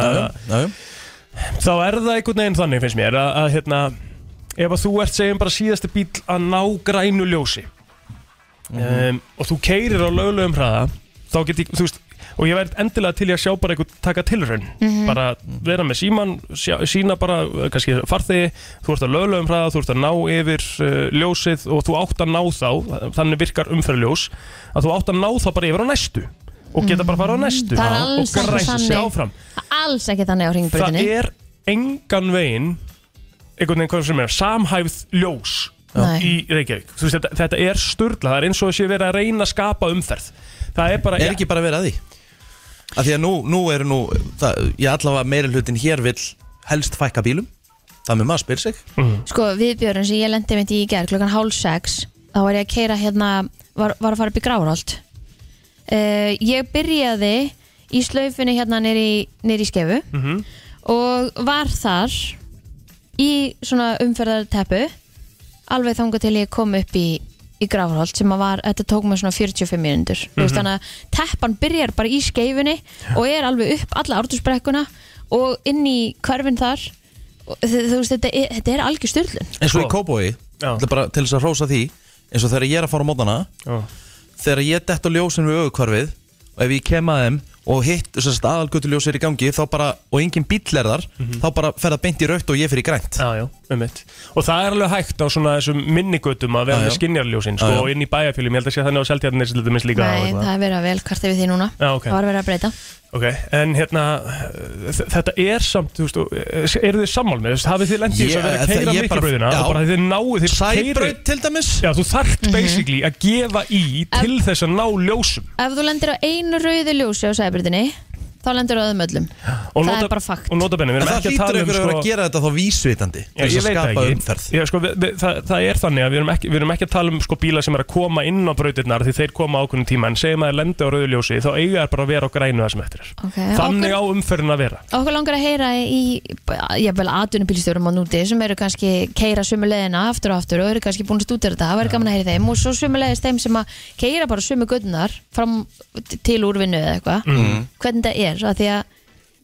Suðurlandsbrautina
Já,
eða-
já, já.
þá er það einhvern veginn þannig finnst mér að, að hérna, ef að þú ert segjum bara síðasti bíl að ná grænu ljósi um, og þú keirir á löglegum hraða þá get ég, þú veist og ég væri endilega til í að sjá bara einhvern taka tilraun
Mhm.
bara vera með síman sína bara, eh, kannski farþegi þú ert að lögla um hraða, þú ert að ná yfir uh, ljósið og þú átt að ná þá þannig virkar umferðljós að þú átt að ná þá bara yfir á næstu og geta bara að fara á næstu
Mhm. Það er
og
alls ekki
græsa sig
þannig.
áfram
Alls ekki þannig á
það
ringbröðinni
er engan veginn einhvern veginn hvað sem er samhæfð ljós
Nei.
í Reykjavík Þú veist, þetta, þetta er sturla, það er eins og þessi verið að reyna að skapa umferð það er bara
Er ekki bara verið að því? Af því að nú, nú eru nú það, Ég allavega meira hlutin hér vill helst fækka bílum Það með maður spyr sig
Mhm.
Sko viðbjörn sem ég lendi mitt í í gerð klukkan hálf sex þá var ég að keira hérna var, var að fara upp í Gráróld uh, ég byrjaði í slaufinni hérna nýri, nýri skefu
Mhm.
og var þar í svona umferðarteppu alveg þangað til ég kom upp í í Grafurholt sem að var, þetta tók mig svona 45 mínútur, þú
Mhm.
veist þannig að teppan byrjar bara í skeifinni og er alveg upp alla ártusbrekkuna og inn í hverfin þar og, þ- þú veist, þetta er, þetta er algjör styrlun
Eins og í
Sko.
Kóboi
Já.
Bara til þess að hrósa því Eins og þegar ég er að fara á mótana
Já.
Þegar ég dett á ljósin við auðkvarfið Og ef ég kem að þeim Og hitt aðalgötu ljósir í gangi Þá bara, og engin bíll er þar Þá bara fer það beint í rautt og ég fer í grænt
Mhm. Já, já, ummitt. Og það er alveg hægt á svona þessum minnigötum að vera
Já, já.
með skinjarljósin sko,
Já, já.
og inn í bæjarfjölum, ég held að sé þannig á seltjarnir sem þetta minnst líka á
Nei,
eitthvað.
það er verið að vel kvarta við því núna
Já, ok.
það var verið að breyta
Ok, en hérna, eh, þ- þetta er samt, þú veist, og, eh, eru þið sammál með, þú veist, hafið þið lendið í þessu að vera
Ég-
að keira
það- ég bara-
mikilbröðina
já.
og bara þið náu, þið
Sæbraut til dæmis Mhm.
Já, þú þarft basically að gefa í til þess að ná ljósum
Ef þú lendir á einu rauðu ljósi á sæbyrðinni þá lendir þú á öðum öllum
og
Það er bara fakt.
Og notabenni,
En
við erum
það
ekki að
hlýtur
tala
ykkur
um
að vera
sko
að gera þetta þá vísvitandi Til
Já, ég
þess að
veit
skapa um-
það ekki.
umferð
Já, sko, við, við, það, það er þannig að við erum, ekki, við erum ekki að tala um sko, bíla sem er að koma inn á brautirnar því þeir koma á ákveðnum tíma en segjum að þeir lendi á rauðljósi þá eiga þær bara að vera á grænu það sem eftir er
okay.
Þannig á umferðin að vera
Okkur langar að heyra í jafnvel atvinnubílstjórum á núti sem eru kannski keira sömu leiðina aftur og aftur og eru kannski búin að stúdera þetta, það væri gaman að heyra í þeim og svo sömu leiðis þeim sem að keira bara sömu gödnar fram til úrvinnu eða eitthvað,
Mm.
Mm.
hvernig það er af því að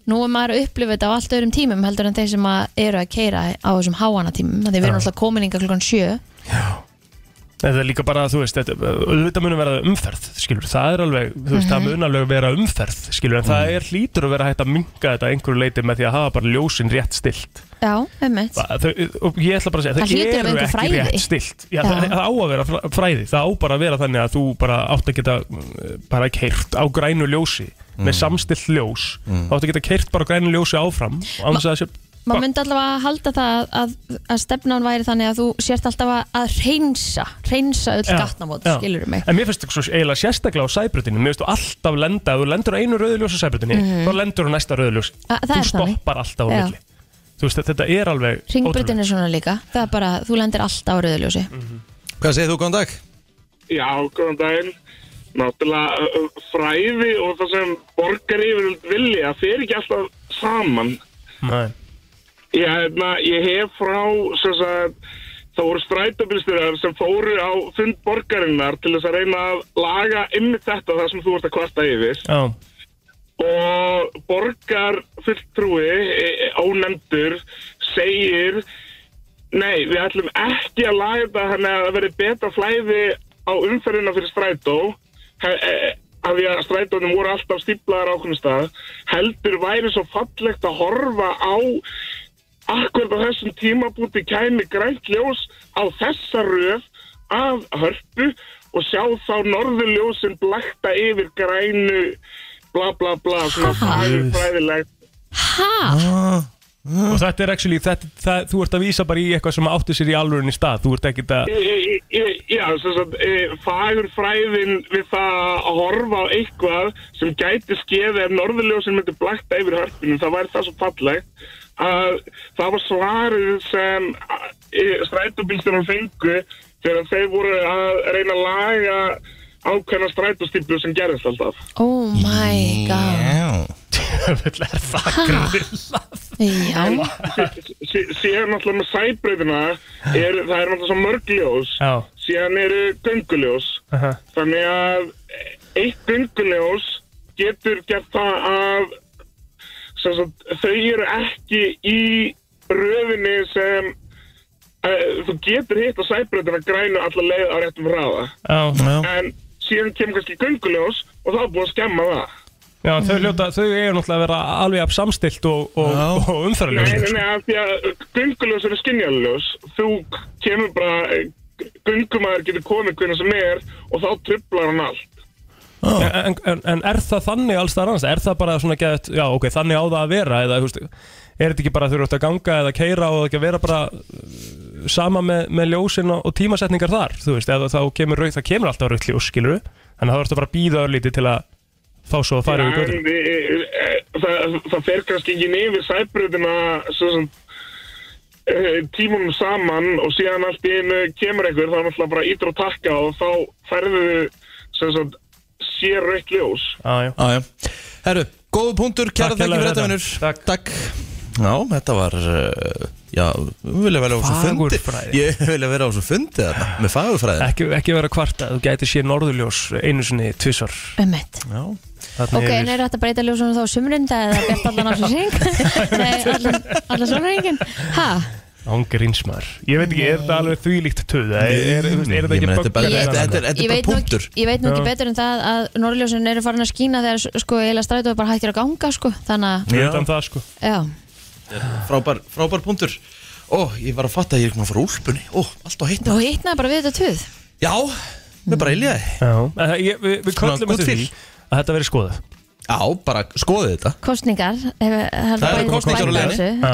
nú er maður að upplifa þetta á allt öðrum tímum heldur en þeir sem að eru að keira á þessum háana tímum, því við erum
Já.
alltaf komin inga klukkan sjö
Þetta er líka bara, þú veist, þetta, auðvitað munum vera umferð, skilur, það er alveg, þú veist,
Mhm.
það mun alveg vera umferð, skilur, en það er hlýtur að vera hægt að minga þetta að einhverju leiti með því að hafa bara ljósin rétt stilt.
Já, einmitt
Ba- Þau, og ég ætla bara að segja,
Það hlýtur
þau
að vera
eru
einhver
ekki
fræði.
rétt stilt.
Já.
Já, það, það á að vera fra- fræði, það á bara að vera þannig að þú bara átt að geta uh, bara keirt á grænu ljósi með
Mhm.
samstilt ljós, þá átt að geta keirt bara á grænu ljósi áfram, án þess að það sé...
maður myndi allavega að halda það að, að stefnan væri þannig að þú sért alltaf að- að reynsa reynsa öll
Já,
gatnamót,
já.
skilur mig
En mér finnst þetta svo eiginlega sérstaklega á sæbrutinu Mér finnst þú alltaf lenda, ef þú lendur á einu rauðljós á sæbrutinu, þá lendur þú á næsta rauðljós
Mhm. A- það er
Þú
þannig.
stoppar alltaf á
Já.
milli Þú veist, þetta er alveg
Ringbrautin er svona líka, það er bara, þú lendir alltaf á rauðljósi
Mhm.
Hvað segir þú, góðan dag?
Já, góðan daginn. Náttúrulega ö, ö, fræði og það sem borgar yfirvöld vilja, þeir eru ekki alltaf saman.
ótrúlegt.
Ég, hefna, ég hef frá, sem sagt, það voru strætabilstyrjar sem fóru á fund borgarinnar til þess að reyna að laga ymmið þetta það sem þú ert að kvarta yfir.
Já,
Og borgar fulltrúi, ónendur, segir, nei, við ætlum ekki að laga þetta þannig að það verði betra flæði á umferðina fyrir strætó, he- e- af því að strætónum voru alltaf stíplaðar á okkur stað, heldur væri svo fallegt að horfa á akkurat á þessum tímabúti kæmi grænt ljós á þessa röð af hörpu og sjá þá norðurljósin blakta yfir grænu bla bla bla svona fagurfræðilegt
Hæ?
Ah. og þetta er actually, þetta, það, þú ert að vísa bara í eitthvað sem átti sér í alvörinni stað Þú ert ekki að,
E- e- e- Já, sem sagt, e, fagurfræðin við það að horfa á eitthvað sem gæti skeði ef norðurljósin myndi blakta yfir hörpunum, það væri það svo fallegt að það var svarið sem e, strætóbílstjónar fengu þegar þeir voru að reyna að laga ákveðna strætóstíplu sem gerðist alltaf.
Oh my god
Djöfull, er það grilla
Já,
Sí- Síðan náttúrulega með sæbreyðina er, það er náttúrulega svo mörg ljós,
Já,
síðan eru gönguljós.
aha,
Þannig að eitt gönguljós getur gert það að sem sagt, þau eru ekki í röðinni sem uh, þú getur hitt á sæbröðina grænu alla leið á réttum hraða.
já
En síðan kemur kannski gönguljós og þá er búið að skemma það.
Já, þau, hljóta, þau eiga náttúrulega að vera alveg af samstilt og, og,
Já.
og
Nei, nei,
umfærðarlega
nei, af því að gunguljós eru skinjaljós. Þú kemur bara, gungumæður getur komið hvernig sem er og þá trublar hann allt.
en, en, en er það þannig alls þar annars? Er það bara svona geðt, já ok, þannig á það að vera eða, þú veist, er þetta ekki bara að þau eru að ganga eða keira og ekki að vera bara uh, sama með, með ljósin og, og tímasetningar þar, þú veist, eða þá kemur rauð, það kemur alltaf rauð ljós, skilur þannig að það verður bara að býða örlítið til að þá svo að fara yfir götu
En, e, e, það, það fer kannski ekki nefnir sæbröðina sem, e, tímunum saman og síðan allt í einu kemur einhver, þá er náttúrulega bara ítur og takka og þá færðu sem sagt, sér raukt ljós.
ah, já.
Já, já. Herru, góðu punktur, kæra
Takk
þekki fyrir
hérlega
þetta
fyrir
vinnur
þetta. Takk.
Já, þetta var uh, Já, við vilja vera á svo fundi
Fagurfræði.
Ég vilja vera á svo fundi þetta Með fagurfræði
ekki, ekki vera að kvarta, þú gæti sé norðurljós einu sinni, tvissar
Ummitt.
Já,
Ok, en er þetta breyta ljósunum þá sumrinda eða bjart allan alls og syng? Nei, allan, allan sumringin? Ha?
Ángrinsmaður Ég veit ekki, er þetta alveg þvílíkt töð Er, er, er, er þetta
Ég
ekki
meina, þetta er bara,
Ég-
þetta, þetta, er- þetta
Ég
er bara
veit nú
punktur
ekki- ég veit nú ekki
Já.
betur en það að norðljósun eru farin að skína þegar sko eila strætói bara hættir að ganga sko þannig að,
Ég veit um það sko
já,
frábær, frábær punktur Ó, ég var að fatta að ég er komin að fara úr úlpunni Ó, allt á heitna
þú hitnaði bara við þetta tuð
Já, við bara iljaði
Já Eh, ég, Við, við
Svona
köllum
good
eftir því
feel.
að þetta verið skoðað
Já, bara skoðu þetta
kostningar
Það eru kosningar á leiðinni.
Já,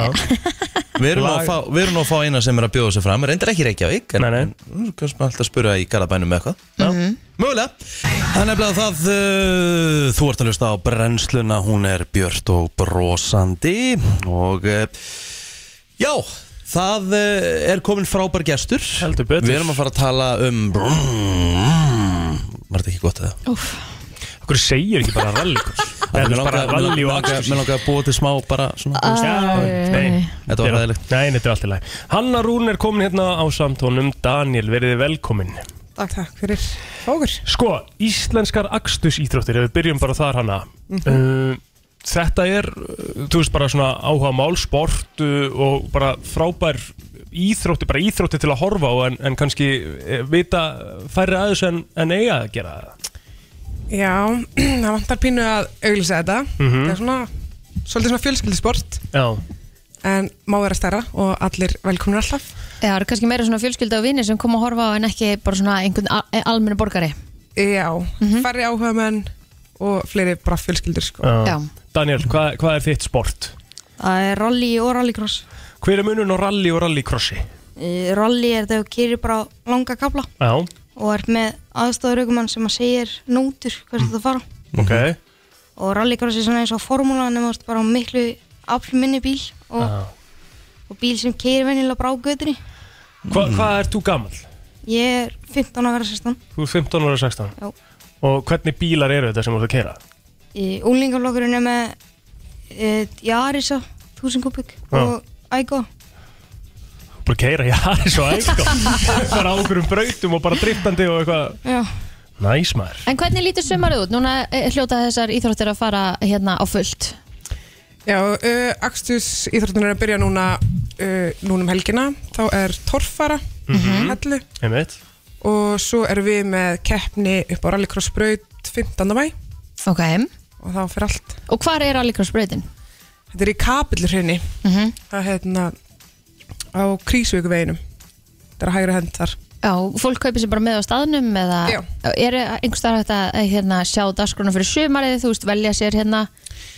Við erum, nú
Lag-
að fá, við erum nú að fá eina sem er að bjóða sig fram Reyndar ekki í Reykjavík En
Nei, nei.
en kannski maður alltaf að spura í Garabænum með eitthvað
já.
Mögulega Það er nefnilega það uh, Þú ert að hlusta á brennsluna Hún er björt og brosandi Og uh, Já Það uh, er komin frábær gestur
Heldur betur.
Við erum að fara að tala um Var þetta ekki gott eða?
Okkur segir ekki bara rallikurs Það er bara ralli og akurs
Mér langar að búa til smá bara svona þú veist. Þetta var hræðilegt.
Nei, þetta er allt í lagi Hanna Rún er komin hérna á samtónum Daniel, verið velkomin
Takk, takk fyrir okkur.
Sko, íslenskar akstusíþróttir ef við byrjum bara þar hana
Mhm.
uh, Þetta er, uh, þú veist bara svona áhuga mál, sport uh, og bara frábær íþrótti, bara íþrótti til að horfa á en, en kannski eh, vita færri aðeins en, en eiga að gera það
Já, það vantar pínu að auglýsa þetta.
Mhm.
Það er svona, svolítið svona fjölskyldisport,
Já,
en má vera stærra og allir velkomnir alltaf.
Já, það eru kannski meira svona fjölskylda og vinnir sem kom að horfa á en ekki bara svona einhvern al- almennu borgari
Já, færri áhuga menn og fleiri bara fjölskyldur, sko.
Já,
Daniel, hvað, hvað er þitt sport?
Það er rally og rallycross
Hver er munun á rally og rallycrossi?
Eh, Rally er þegar þú kýrir bara á langa kafla
Já,
og er með aðstofurökumann sem að segir nótur hvað mm. þetta fara
ok
og rallycross er svona eins og formúla nema þú ert bara á miklu aflminni bíl og,
Já.
og bíl sem keyrir venjulega bara á götunni
Hva, Hvað ert þú gamall?
Ég er 15 að vera 16
Þú er 15 ára 16
Já.
Og hvernig bílar eru þetta sem þú ert að keira?
Úlingarlokkurinn er með e, Jarisa 1000 kubik
Já.
og Aiko
Bara keira, já, það er svo eitthvað Bara sko. á einhverjum brautum og bara driftandi og eitthvað
Já,
Næs maður
en hvernig lítur sumarið út? Núna eh, hljóta þessar íþróttir að fara hérna á fullt
Já, uh, Axtus íþróttunir er að byrja núna, uh, núna um helgina. Þá er torfara, hellu
Einmitt
og svo erum við með keppni upp á rallycrossbraut 15. mæ
Ok,
og þá fyrir allt.
og hvar er Mhm. allikrossbreytin?
Þetta er í kapillurhrinni. Það er hérna á Krísvíkuveginum. Þetta er að hægra hend þar.
Já, fólk kaupir sér bara með á staðnum eða
Já.
er einhvers staðar hægt að eh, hérna, sjá dagskrána fyrir sumarið, þú veist, velja sér hérna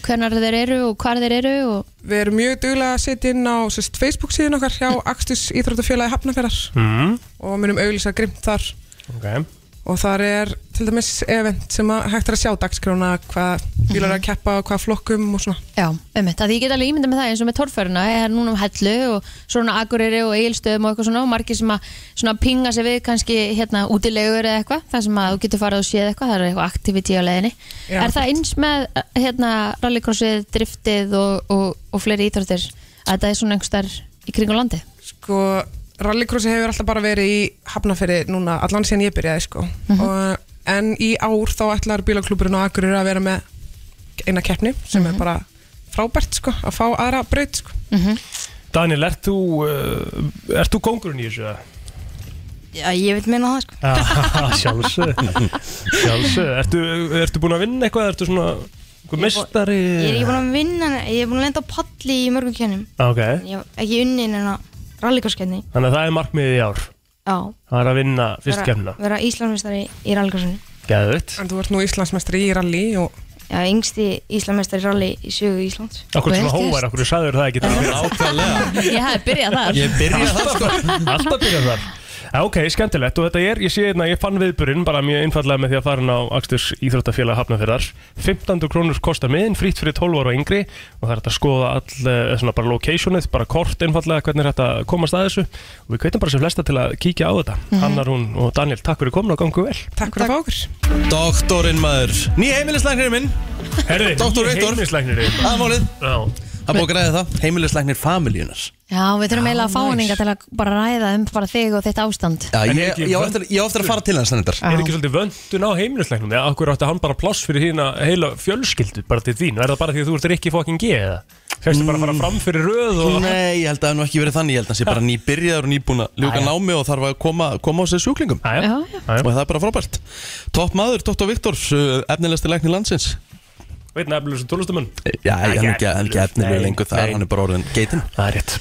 hvernar þeir eru og hvar þeir eru og...
Við erum mjög duglega að setja inn á sérst, Facebook síðan okkar hjá
Mhm.
Axtus Íþróttafélagi Hafnafjörðar
mm,
og munum auglýsa grimt þar
okay.
og þar er til dæmis event sem að hægt er að sjá dagskrána hvað bílar eru að keppa og hvað flokkum og svona.
Mhm. Já, einmitt, að ég get alveg ímynda með það eins og með torfæruna, ég er núna um hellu og svona akureyri og eigilstöðum og eitthvað svona og margir sem að svona pinga sér við kannski hérna útilegur eða eitthvað, þar sem að þú getur farið og séð eitthvað, það er eitthvað aktivití á leiðinni.
Já,
er það eins með eh, hérna rallycrossið, driftið og, og, og fleiri íþróttir að þetta er svona einhvers staðar í kringum landið?
Sko, rallycrossi hefur alltaf bara verið í Hafnafjörði núna, allan síðan ég byrjaði sko. og, en í ár þá ætlar bílaklúburinn á Akureyri að vera með eina keppni sem er bara frábært sko, að fá aðra braut sko.
Daniel, ert þú uh, Ert þú kongurinn í þessu?
já ég vil meina það sko
Ah, sjálfsög Sjálfsög Ertu, ertu búin að vinna eitthvað? Ertu svona Hvað mistari?
Ég er ekki búin að vinna, ég er búin að lenda á palli í mörgum kjönum
Ah, Ok,
Ég hef ekki unni en að rallycrosskeppni
þannig að það er markmiðið í ár
Já
Það er að vinna fyrst
vera-
kemna
Vera Íslandsmeistari í rallycrossunni
Gæðvitt
En þú ert nú Íslandsmestri í rally og
Já, yngsti Íslandsmeistari í rally í sögu Íslands
Akkur
Vel
svona
gert.
hóvar, akkur sagður það ekki
Nákvæmlega
Ég hef byrjað þar
Ég byrja það sko
Alltaf byrja þar Já, Ok, skemmtilegt og þetta er, ég sé hérna, ég fann viðburinn bara mjög einfallega með því að fara hann á Aksturs Íþróttafélag Hafnafjörðar 15 krónur kostar miðin, frýtt fyrir 12 ára og yngri og það er hægt að skoða all, eh, svona bara locationið, bara kort einfallega hvernig er hægt að komast að þessu og við kveitum bara sem flesta til að kíkja á þetta Hannar, hún og Daniel, takk fyrir komin og gangu vel
Mhm. takk fyrir að fá okkur
Doktorinn maður Ný heimilislæknirinn minn
Herði,
Doktor Viktor.
heimilisleiknir
Það er málið
Já,
Það er búið að græða það
Heimilisleiknir familjunar
Já, við þurfum eiginlega að fá hann
nice.
inga til að bara ræða um bara þig og þitt ástand
Já,
En
ég,
ekki
ég, á eftir, ég á eftir að fara til hans þannig
er ekki svolítið vöndun á heimilisleiknum eða akkur átti hann bara pláss fyrir þína heila fjölskyldu bara til þín, er það bara því að þú ert ekki fokkin G eða? Fyrstu bara að
Mm.
fara fram fyrir röð og
Nei, ég held að það hef nú ekki verið þannig Ég held að hann sé bara nýbyrjaður og nýbúin að ljúka námi og þarf að koma, koma á sig sjúklingum
Jæja,
Já, já.
jæja.
Og það er bara frábært Topp maður, Dr. Viktor, efnilegasti læknir landsins Eh,
Veit nefnilega sem tólustumann
Já, ég hann er ekki, hann er ekki efnilegur
Nei,
lengur þar
nei.
Hann er bara orðin geitin
Það er rétt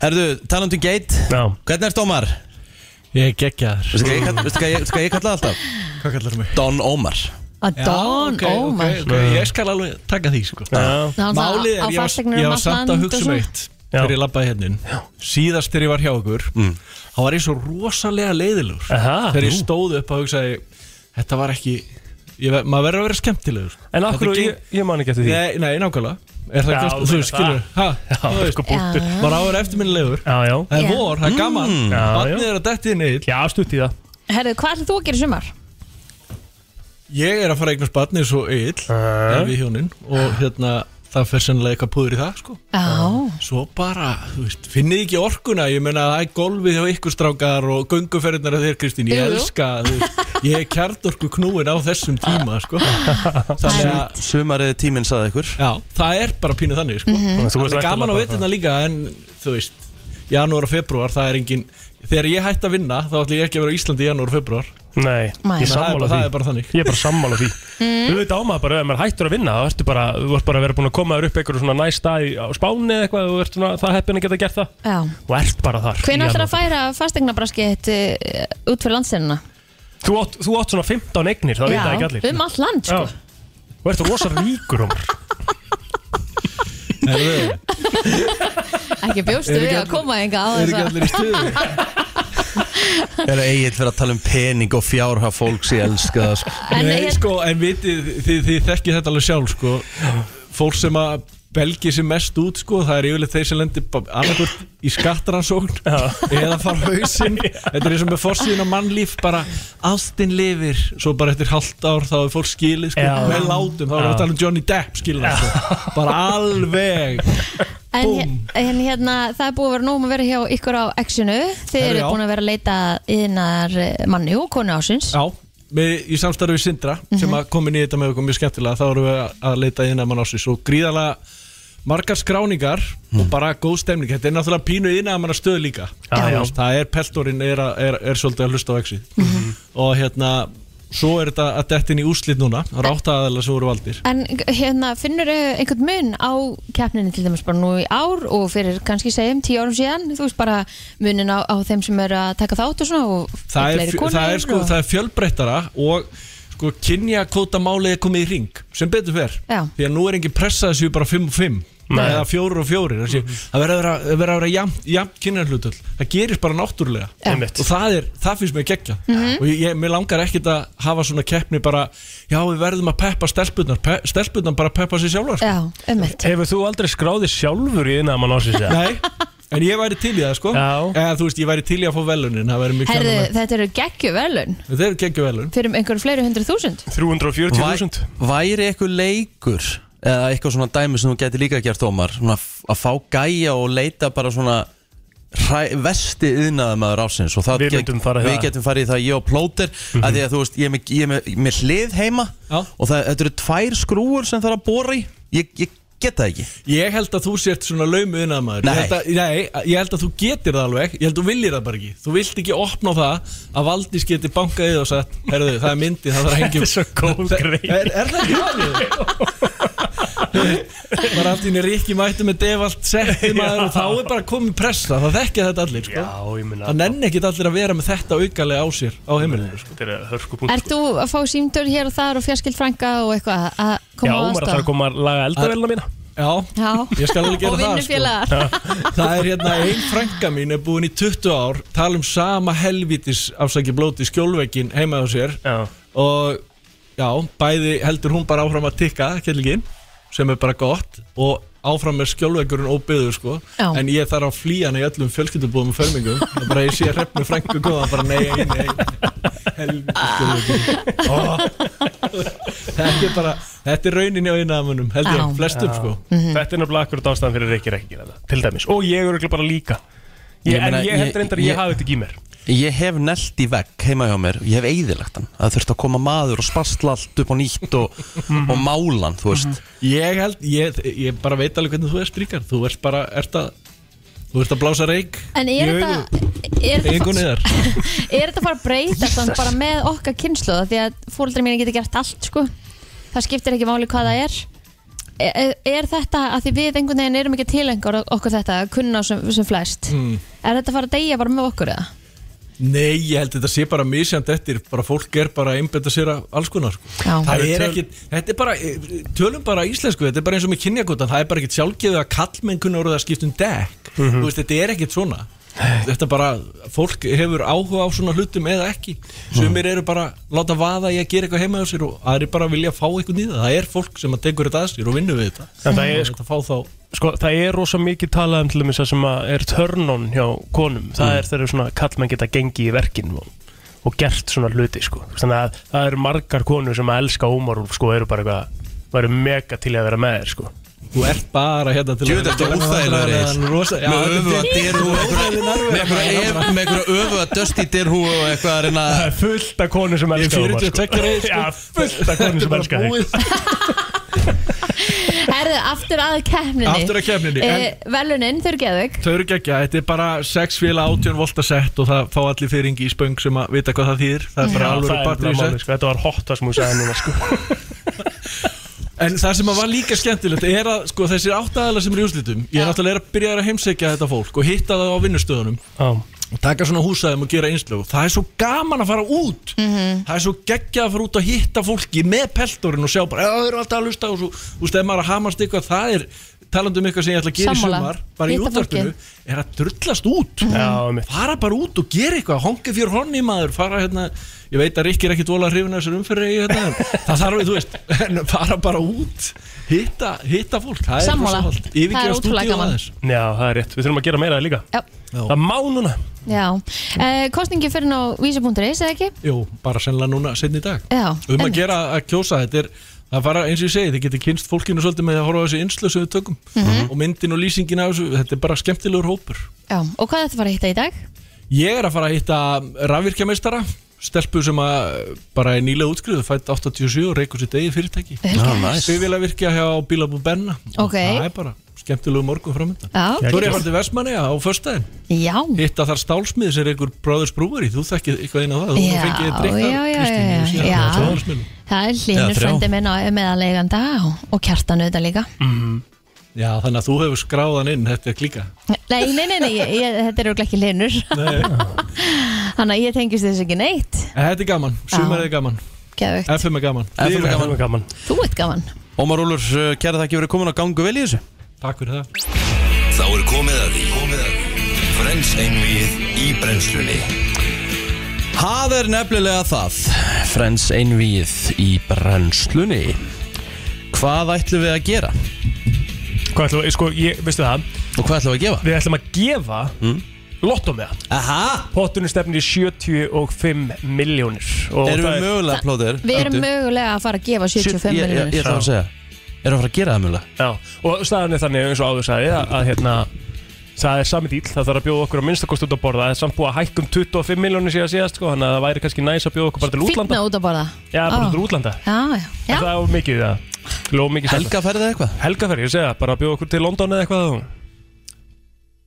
Herðu, talandi um geit
Já,
Hvernig ert Ómar?
Ég er geggjaður
Veistu hvað ég kall- veistu hvað ég, veistu hvað ég kallaði alltaf?
Hvað kallar mig?
Don Ómar
Að Don Ómar
okay, okay. Ég skal alveg taka því sko
já,
Ná, hann það á
Málið er, ég var,
fasteignir
ég
um
var
allt
samt að
land
hugsa
og
um
svona.
eitt Þegar ég labbaði hérna inn Síðast þegar ég var hjá okkur Þá var ég svo rosalega leiðilegur
Mm. Aha,
Þegar ég
nú.
stóð upp að hugsa Þetta var ekki ég, ve- Maður verður að vera skemmtilegur
En akkur,
Þetta
ég,
geng-
ég man ekki eftir því
Nei, nei, nákvæmlega Er það
Já,
ekki oft- Þú
meina
skilur Ha? Þú
Já,
veist,
sko búttur
Já.
Maður á að vera eftirminnilegur
Já, já Mm.
Það
Já.
er vor, það er gaman
Já, já.
Barnið er að detti inn eitt
Já, stutt í það
Herðu, hvað ætlum þú að gera í sumar?
Ég er að fara að eignast barnið svo eill
Já,
Við hjónin Og hérna Það fer sennilega eitthvað púður í það sko
Já,
Svo bara, þú veist, finnið ekki orkuna Ég meina, það er golfið hjá ykkur strákar og gunguferðinar að þér, Kristín,
Jú,
ég
jú.
elska þú veist, Ég er kjartorku knúin á þessum tíma, sko Þannig að,
Sumarið tíminn saði ykkur
já, það er bara pínu þannig, sko
mhm.
Þú
Það
veist
er
ekki
gaman á
að labba
veturna líka, en þú veist Janúar og februar, það er engin Þegar ég hætti að vinna, þá ætla ég ekki að vera á Íslandi í janúar og februar
Nei,
Nei.
Það
ég er
er
sammála
bara-
því
það er bara þannig.
Ég er bara sammála því
Mhm.
Þú veit ámað bara, ef maður hættur að vinna þá ertu bara, þú ert bara að vera búin að koma þér upp einhverju svona næst dag í- á spáni eða eitthvað, þú ert svona, það heppin að geta gert það
já
og ert bara þar í
Hvernig ætlar að
janúar.
færa fastegnabraskið þitt eh, út fyrir landsinnuna?
Þú átt, þú átt svona 15 eignir, það veit það ekki allir
um allt land, sko
Já, og ert rosa ríkur um
Herðu,
Ekki bjóstu
Eru ekki
við að
allir-
koma sko. enga á
Er
þess
ekki
að
allir í stuði?
Er að eigið fyrir að tala um pening og fjárha fólks Ég elska það sko
En
Nei,
ég-
sko, en vitið, þið, þið þekkið þetta alveg sjálf, sko Fólk sem að belgi sér mest út, sko Það er yfirleitt þeir sem lendir annarkvöld í skattaransókn Eða fara á hausinn Þetta er eins og með fórsíðin á mannlíf Bara ástin lifir Svo bara eftir halvt ár þá er fólk skilið, sko
Já.
Með látum, þá erum við að tala um Johnny Depp skilið sko. Bara alveg
En,
Búmm.
hér- en hérna, það er búið að vera nóg um að vera hjá ykkur á Exinu Þið
Herru,
eru
já.
búin að vera að leita yðnar manni og konu ásins
Já, með, í samstarfi við Sindra sem að komin í þetta með okkur mjög skemmtilega þá erum við að- að leita inn að mann ásins og gríðalega margar skráningar og bara góð stemning, þetta er náttúrulega pínu inn að mann að stöðu líka
Mhm. Já, já.
Þú veist, það er peltorinn er, að- er, er svolítið að hlusta á exið og hérna svo er þetta að dettin í úrslit núna það eru átta aðeins sem voru valdir
En hérna, finnur einhvern mun á keppninni til dæmis bara nú í ár og fyrir kannski segjum tíu árum síðan þú veist bara munin á, á þeim sem eru að taka þátt og svona og
það er,
fleiri
fjö- það er, sko,
og...
það er fjölbreyttara og sko, kynja kvóta málið er komið í ring sem betur fer
Já.
því að nú er engin pressa þessu bara 5 og 5 eða 4 og 4 þessi,
Mhm.
það verður að vera- það verður að vera jafnt jafn kynjarhlutöld það gerist bara
Já.
náttúrulega
Mhm.
Einmitt.
og það, er, það finnst mér geggja og ég, ég, mér langar ekkit að hafa svona keppni bara, já við verðum að peppa stelpunnar Pe, stelpunnar bara peppa sér sjálfar sko.
Já, ummitt
Hefur þú aldrei skráði sjálfur í innan mann ásins eða?
nei, en ég væri til í það sko
Já.
eða þú veist, ég væri til í að fá velunin það væri mjög
Herðu,
kjánum
þetta eru geggju velun
þetta er geggju velun
fyrir einhverjum fleiri hundru þúsund
340.000
Væri eitthvað leikur eða eitthvað svona dæmi sem þú gæti líka gert Ómar svona f- að fá gæja og leita bara svona hræ, vesti yðnaðum aður ásins og það
Við myndum fara í
við
það. Mhm.
getum farið í það ég og plóter mm að því að þú veist ég er með, ég er með, með hlið heima
Já.
og það, þetta eru tvær skrúur sem þarf að bóra í ég, ég get það ekki
Ég held að þú sért svona laumu innanmaður
Nei.
ég, held að- nei, ég held að þú getir það alveg Ég held að þú viljir það bara ekki Þú vilt ekki opna á það að Valdís geti bankað í það og sagt Herðu, það er myndið, það þarf að hengja
Þetta er svo góð grein.
er, er það ekki valið? bara allt í henni ríkki mættu með devalt setti maður og þá er bara komið pressa það þekkja þetta allir sko.
Já, meina-
það nenni ekkit allir að vera með þetta aukalega á sér á heimilinu sko.
þetta er hörkupunkt
Ert þú að fá símtöl hér og þar og fjarskild frænga og eitthvað að
Já,
koma á
maður þarf að
aðstof?
koma að laga eldavélina mína
já,
Já,
ég skal alveg
og
gera það sko.
vinnufélagar
Það er hérna ein frænka mín er búin í 20 ár tala um sama helvitis afsaki blóti skjólveikin heima á sér
Já,
og já, bæði heldur hún bara áfram að tikka kellingin sem er bara gott og áfram er skjólveikurinn óbyður sko
Já.
en ég þarf að flýja hana í öllum fjölskyldubúðum og förmingum og bara ég sé hrefnu frænku góða bara nei, nei, nei helvitis skjólveikurinn
Ah.
þetta er bara þetta er rauninni á einaðamönnum heldur
Já. Mhm.
ég, flestum sko
Þetta er náttúrulega akkurat ástæðan fyrir Rikki Rikki til dæmis og ég er örugglega bara líka ég,
Ég meina,
En ég held
ég-
reyndar að
ég-
ég hafi þetta ekki í mér
Ég hef nelt í vegg heima hjá mér Ég hef eigðilegt hann Það þurft að koma maður og spastla allt upp á nýtt og,
Mhm.
og mála hann, þú veist
Ég held, ég, ég bara veit alveg hvernig þú ert ríkar Þú ert bara, ert að Þú ert að blása reik
En er
Í
þetta er þetta
Engun
fa-
yðar
er þetta fara að breyta þannig bara með okkar kynsluða því að fólkdra mín getur gert allt sko það skiptir ekki máli hvað það er er, er þetta að því við einhvern veginn erum ekki tilengar okkur þetta að kunna sem, sem flest
Hmm.
er þetta fara að deyja bara með okkur eða?
Nei, ég held þetta sé bara misjand eftir Bara fólk er bara að einbetta sér að alls konar sko.
Já.
Það er ekki, þetta er bara eh, Tölum bara íslensku, þetta er bara eins og með kynjakotan Það er bara ekkit sjálfgefið að kallmenn kunna orðið að skipta um dekk Þú veist, þetta er ekkit svona Þetta bara, fólk hefur áhuga á svona hlutum eða ekki Sumir eru bara, láta vaða í að gera eitthvað heima á sér og aðri bara vilja fá eitthvað nýða Það er fólk sem að tekur þetta að sér og vinnur við þetta
En það er,
Þetta fá þá
sko, það er rosa mikið talað um til dæmis það sem að er törnón hjá konum það er þegar svona kallmenn geta gengið í verkin og, og gert svona hluti sko. þannig að það eru margar konur sem að elska ómarúf sko, eru bara eitthvað væru mega til í að vera með þér sko.
Þú ert bara hérna til
Djöfull ertu óþægilegur, Egill. Með öfuga derhúfu og Með
Með
einhverja- með einhverja öfu að dösti dyrhú og eitthvað að reyna
það er fullt af konur sem elska
Ég er 42
ómarúf
ára, sko.
sko. Já, fullt af konur sem elska þig
Herðu, aftur að keppninni
Aftur að keppninni, en-
Eh, Velunin, þau eru geðug
Þau eru geggja, þetta er bara 6 fél 18 volta sett og það fá allir fyrringi í spöng sem að vita hvað það þýðir Það er bara
Já,
alveg
það er
batterið
bara
í
máli,
sett
sko. Þetta var hot það sem hún sagði núna sko.
En það sem að var líka skemmtilegt er að sko, þessir áttaðalega sem eru í úrslitum Ég er náttúrulega að byrja að heimsækja þetta fólk og hitta það á vinnustöðunum
Já.
og taka svona húsæðum og gera einslög það er svo gaman að fara út það er svo geggjað að fara út að hitta fólki með peltorinn og sjá bara, "Já, þau eru alltaf að lusta og svo, þú veist, ef maður er að hamast eitthvað það er, talandi um eitthvað sem ég ætla að gera
Sammála.
í sumar bara í
Hitta
útarpinu,
fólkið.
er að drullast út
Já, einmitt.
fara bara út og gera eitthvað, hongi fyrir honni maður fara hérna, ég veit að Rikki er ekki dvola hrifin af þessar umferði í hérna, en það þarf við, þú veist, en fara bara út hitta, hitta fólk, það er
Sammála.
rosa hollt.
Það er
Yfirgefa
ótrúlega
stúdíóið
gaman.
aðeins.
Já, það er rétt, við þurfum að gera meira af því líka
Já,
Það er má núna
já. Eh, Kostningi fyrir ná vísi.is eða ekki?
Jú, bara sennilega núna setni í dag
Já,
um að
einmitt.
gera að kjósa þetta er að fara eins og ég segi, þið getur kynst fólkinu svolítið með að horfa á þessi innslu sem við tökum
Mhm.
og myndin og lýsingin af þessu, þetta er bara skemmtilegur hópur
Já, og hvað þetta fara að hitta í dag?
ég er að fara að hitta rafvirkjameistara stelpu sem að bara er nýlega útskriðu, fætt 87 og reykur sér degi fyrirtæki
Já, næs
við vilja virkja hjá Bílabú Benna og
Ok.
það er bara skemmtilegu morgun framöndan
Já,
Þú er ég að fara til Vestmanni á föstudaginn
já,
Hitta þar stálsmið sem er einhver Brothers Brewery Þú þekkið eitthvað inn á það Þú
Já,
fengið þér drykk þar,
já, já,
Kristín,
já,
og síðan
já.
á stálsmiðnum.
það er hlínur
Já, þrjá.
frændi minn á meðaleganda og kjartan auðvitað líka.
Já, þannig að þú hefur skráðan inn Þetta er klíka
Nei, nei, nei, nei ég, ég, þetta eru ekki hlínur. Þannig að ég tengist þess ekki neitt.
En Þetta er gaman, sumar er gaman,
Geðvögt,
FM er gaman
FM er gaman.
Það er gaman
þú ert gaman.
Ómar Úlur, uh, kæra þakki fyrir komin að gangu vel í þessu
Takk fyrir það
Þá er komið að því Komið að því Frens einvið í brennslunni
Það er nefnilega það Frens einvíð í brennslunni Hvað ætlum við að gera?
Hvað ætlum við, sko, ég, veistu það
Og hvað ætlum við að gefa?
Við ætlum að gefa mm. Lotto með það
Aha,
Pottunum stefnir í 75 miljónir Og
erum
það
við
er
mögulega plóðir?
Við erum mögulega að fara að gefa 75
Ég, ég, ég
miljonir.
ætla að segja Erum við að fara að gera það mögulega?
Já, og staðan er þannig eins og áður sagði að, að hérna Það er sami dýl, það þarf að bjóða okkur á minnstakost út að borða Það er samt búið að hækka um 25 miljónir síðan síðast sko, Þannig að það væri kannski næs að bjóða okkur bara til útlanda
Fýtna út að borða.
Já, bara
Á. Ah.
til útlanda
Já, já,
Er
já.
Það er mikið, já Lóð mikið sagt.
Helga ferðið eitthvað?
Helgaferð, ég segja, bara að bjóða okkur til London eða eitthvað og-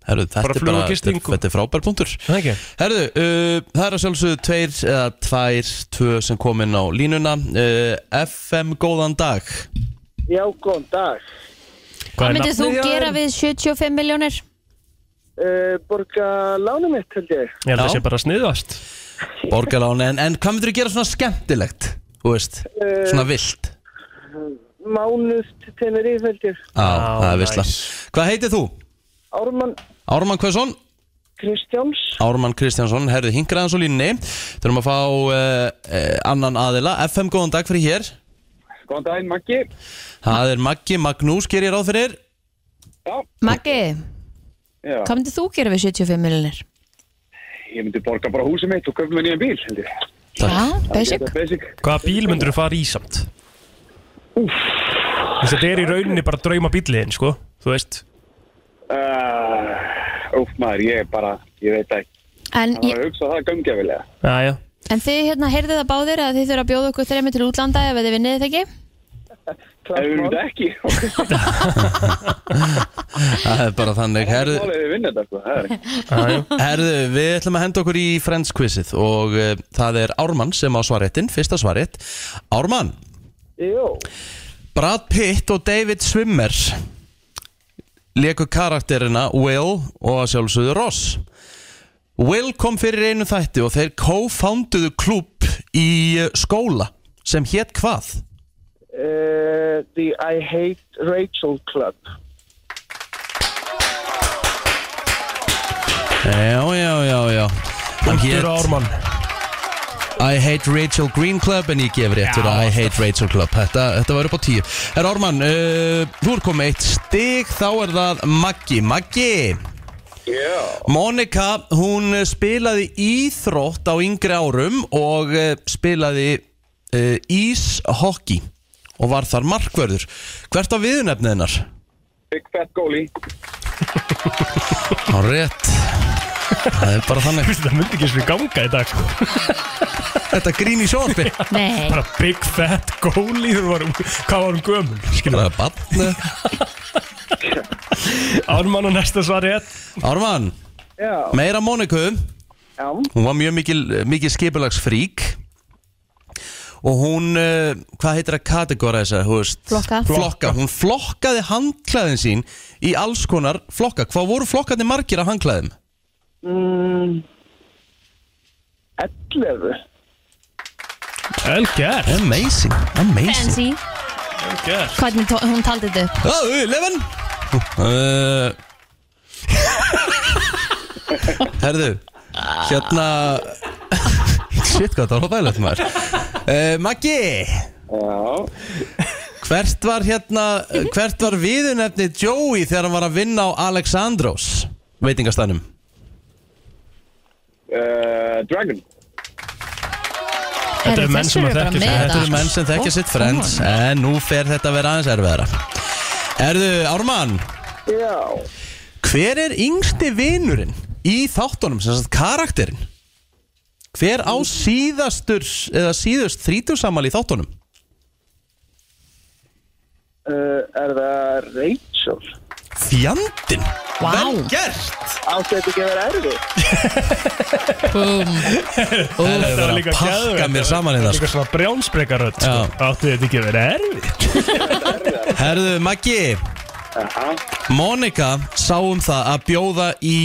Herru, þetta
Bara
er
flug og
bara,
gisting og-
þetta er frábær punktur
Það ekki?
Herðu, uh, það er að sjálfsögðu tveir eða tvær, tvö sem kom inn á línuna uh, FM, góðan dag
Já, góðan dag.
Hvað myndir þú gera við 75 miljónir?
Eh,
Uh, borga lána mitt, held ég.
Ég held að sé bara sniðast
Borgarláni, en, en hvað myndur þú gera svona skemmtilegt? Þú veist, svona vilt
Eh, Mánuð til Tenerife, held ég.
Á, það er vissla Hvað heitir þú?
Ármann
Ármann Kvösson?
Kristjáns.
Ármann Kristjánsson, herðu hingraðans og línni Þurfum að fá uh, uh, annan aðila FM, góðan dag fyrir hér
Góðan daginn, Maggi.
Það er Maggi Magnús, ger ég ráð fyrir
Maggi,
Já.
hvað myndir þú gera við 75 miljónir?
Ég myndi borga bara húsið mitt og köpa mér nýjan bíl, held ég.
Já, basic.
Þetta er basic.
Hvaða bíl myndur þú fara í samt? Úff Þetta er í rauninni bara drauma bíliðin, sko Þú veist
Uh, úf, maður, ég er bara, ég veit ekki.
En,
Það
ég-
var að hugsa það gömgefilega.
Jæja
en þið hérna heyrðið það báðir að þið þurfa að bjóða okkur þremi til útlanda ef þið vinnið þetta ekki?
Ef við myndum ekki, ok.
Það er bara þannig
Það
Herðu,
er málið við vinna þetta, sko. Það er ekki.
Herðu, við ætlum að henda okkur í Friends quizið og uh, það er Ármann sem á svaréttin, fyrsta svarétt Ármann,
Jó.
Brad Pitt og David Swimmer leku karakterina Will og að sjálfsögðu Ross Will kom fyrir einu þætti og þeir co-founduðu klúb í eh, skóla sem hétt hvað?
Uh,
eh,
the I Hate Rachel Club.
Já, já, já, já Hann
Punktur á Ármann
I hate Rachel Green Club en ég gef réttur að I hate Rachel Club Þetta, þetta var upp á tíu Herra Ármann, uh, þú er komið eitt stig þá er það Maggi Maggi
Já.
Monika, hún eh, spilaði íþrótt á yngri árum og uh, spilaði uh, íshokki og var þar markvörður Hvert var viðunefnið hennar?
Big fat goalie.
Á rétt Það er bara þannig
Þetta myndi ekki sem við ganga í dag, sko
Þetta grín í sjónarpi
Nei.
Bara big fat goalie Þú varum, hvað varum gömul, skilur
Bara barn
Ármann og næsta svar er
Ármann,
Já.
meira Moniku
Já.
Hún var mjög mikil, mikil skipulagsfrík Og hún, uh, hvað heitir að kategóra þessa, hú veist?
Flokka.
Flokka, hún flokkaði handklæðin sín í alls konar flokka Hvað voru flokkandi margir af handklæðum?
Mm, 11.
Vel gert
Amazing, amazing
Fancy.
Vel gert
Hvernig tó- hún taldi þetta upp?
Oh, eleven uh, Herðu, hérna Shit, hvað það var hóðægilegt maður uh, Maggi
Já.
Hvert var hérna, hvert var viðunefni Joey þegar hann var að vinna á Alexandros veitingastænum?
Uh, Dragon.
Þetta eru menn sem að þekkja sig.
Þetta eru menn sem þekkja sitt friends, en nú fer þetta að vera aðeins erfiðara. Erðu, Ármann,
Já.
hver er yngsti vinurinn í þáttunum, sem sagt karakterinn? Hver á síðastur, eða síðust þrítjúsamal í þáttunum?
Uh,
Eh,
er það Rachel?
Fjandinn!
Vá.
Vel gert!
Átti þetta ekki að vera erfið?
Það er
Þetta var líka
að vera að pakka
geðveikt.
mér saman
Þetta
í
var
það.
Líka svona brjánsbrekarödd
Já.
Átti þetta ekki að vera erfitt
Herðu, Maggi Mónika sá um það að bjóða í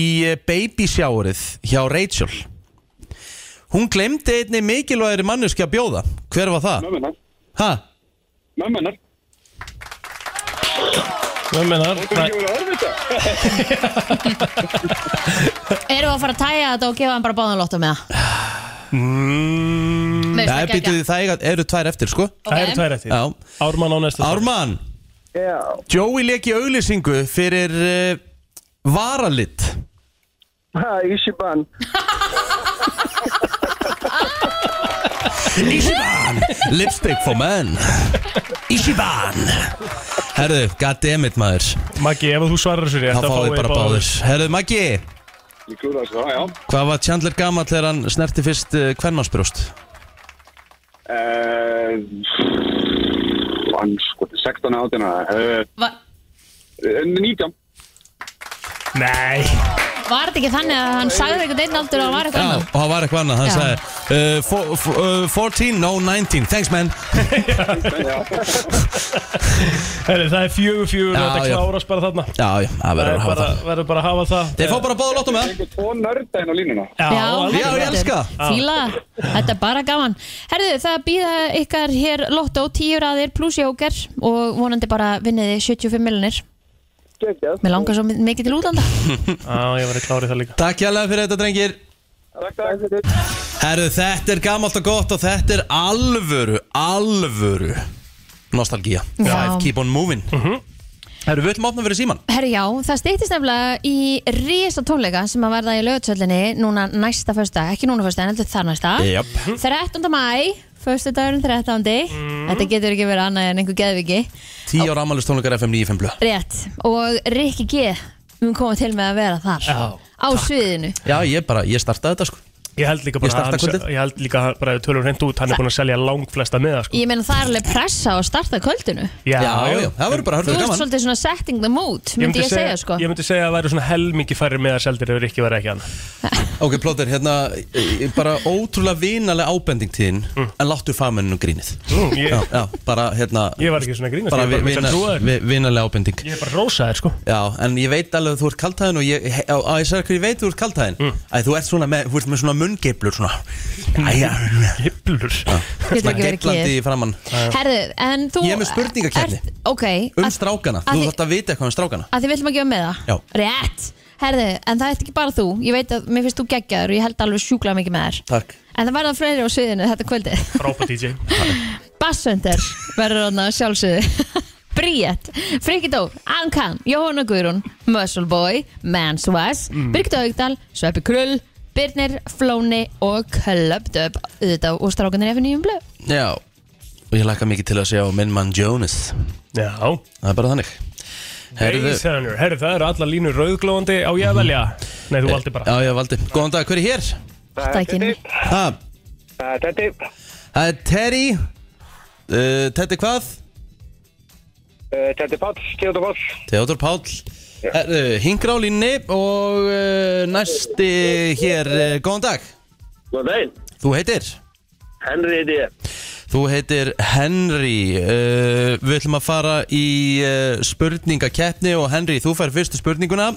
babysjárið hjá Rachel Hún glemdi einni mikilvægri mannuski að bjóða Hver var það?
Mömmunar.
Ha?
Mömmunar.
Hvað mennar?
Það er ekki verið örfið þetta.
Erum við að fara að tæja þetta og gefa hann bara báðanlóttum með það?
Mm,
Mér
Ja,
finnst
býtu,
ekki
það eiga- eru tvær eftir sko
Það eru
ekki
tvær eftir
Já.
Ármann á næsta
Ármann,
Já.
Joey leik í auglýsingu fyrir uh, varalit
Ha, Ishiban.
Ishiban Lipstick for men Ishiban Herðu, goddammit maður
Maggi, ef þú svarar þessu rétt
Það fáið bara báðir Herðu, Maggi
Ég klúra
sko,
þessu það, já.
Hvað var Chandler gamall þegar hann snerti fyrst uh, kvennmannsbrjóst?
Uh, hann, sko, 16 áttina. Uh,
Va-
19.
Nei
Var þetta ekki þannig að hann sagði einhvern veginn aldur og hann var eitthvað
Já,
annað?
og það var eitthvað annað, hann
Já.
sagði uh, for, for, uh, 14, no 19, thanks man
Heri, það er fjögur fjögur
Já,
og þetta
já.
klárast bara þarna
Já, já, það verður að hafa
bara, verður bara að hafa það
Þeir fá bara báða lottum með
Það er tvo nörda inn á línuna
heldur
já, ég
betur.
elska
Fíla, þetta er bara gaman Herðu, það býða ykkar hér lottó tíu raðir pluss jóker og vonandi bara vinniði 75 miljonir Mér langar svo mi- mikið til útlanda
Já, ég verður klárið það líka
Takk hérlega fyrir þetta drengir Herru, þetta er gamalt og gott og þetta er alvöru, alvöru Nostalgía
Já.
Five, keep on moving
Mhm.
Herru, við ætlum að opna fyrir síman
Herru, já, það stýttist nefnilega í risa tónleika sem að verða í lögutsöllinni núna næsta fösta, ekki núna fösta en heldur þar næsta
Jep.
13. mæ, föstu dagurinn 13.
Mm.
Þetta getur ekki verið annað en einhver geðviki
10 ára ammælistónleikar FM 95 blöð
Rétt, og Rikki G mun koma til með að vera þar
Já.
á sviðinu
Já, ég bara, ég startaði þetta sko
Ég held líka
Ég
bara
starta
að
kvöldið.
hann, ég held líka bara að tölur hreint út, hann er búin að selja langflesta með það sko.
Ég meina það er alveg pressa á að starta kvöldinu
Já, já,
það verður bara
Þú ert svolítið svona setting the mood myndi ég segja sko
Ég myndi segja að það væri svona helmingi færri með það seldir ef Rikki væri ekki hann
Ok, plóter, hérna, eh, bara ótrúlega vinalega ábending tíðin En láttu fagmenninu grínið
Mm, ég-
já, já, bara, hérna
Ég var ekki svona að grínast,
Bara
ég var bara með
vi-
sem trúaður.
vi- vinalega ábending
Ég er bara rósaðir sko
Já, en ég veit alveg að þú ert kaltæðin og ég, á, á, ég sagði hverju ég veit þú ert kaltæðin mm. að þú ert svona með, þú ert með svona munngeiblur svona Æja
Getur
Geiblur
Svona
ekki verið
geiblandi
kýr.
í framann
Herðu, en þú
Ég er með spurningakeppni.
ert- Ok,
Um strákana,
að
þú
þi-
þarft að vita eitthvað um strákana
að þið viljum að gefa með það
Já,
Rétt, herðu, en það ert ekki bara þú Ég veit að mér finnst þú geggjaður og ég held alveg sjúklega mikið með þér
takk
En það verða fleiri á sviðinu þetta kvöldið
Frápa DJ
Bassöndir verður hann að sjálfsögðu Bríett, Friki Dór, Ankan, Jóhanna Guðrún, Muscle Boy, Manswas, mm. Birgit Haugdal, Sveppi Krull, Birnir, Flóni og Klöpdöp auðvitað og strákanir efinn í um blöð.
Já, og ég lakka mikið til að segja á minn mann Jonas
Já Það
er bara þannig Heyrðu-
Heyrðu, herru, það eru alla línur rauðglóðandi á ég að velja Nei, þú valdi bara
Já, ég valdi Góðan dag, hver er hér?
Stakkinni.
Ha?
Það er Eh, Teddy
Það er Terry uh, Teddy hvað?
uh, Teddy Páll, Theodor Páll
Theodor Páll Herðu, Hingra á línni og uh, næsti hér uh, Góðan dag
Góðan daginn,
Þú heitir?
Henry heiti ég.
Þú heitir Henry uh, Við ætlum að fara í uh, spurningakeppni og Henry, þú fær fyrstu spurninguna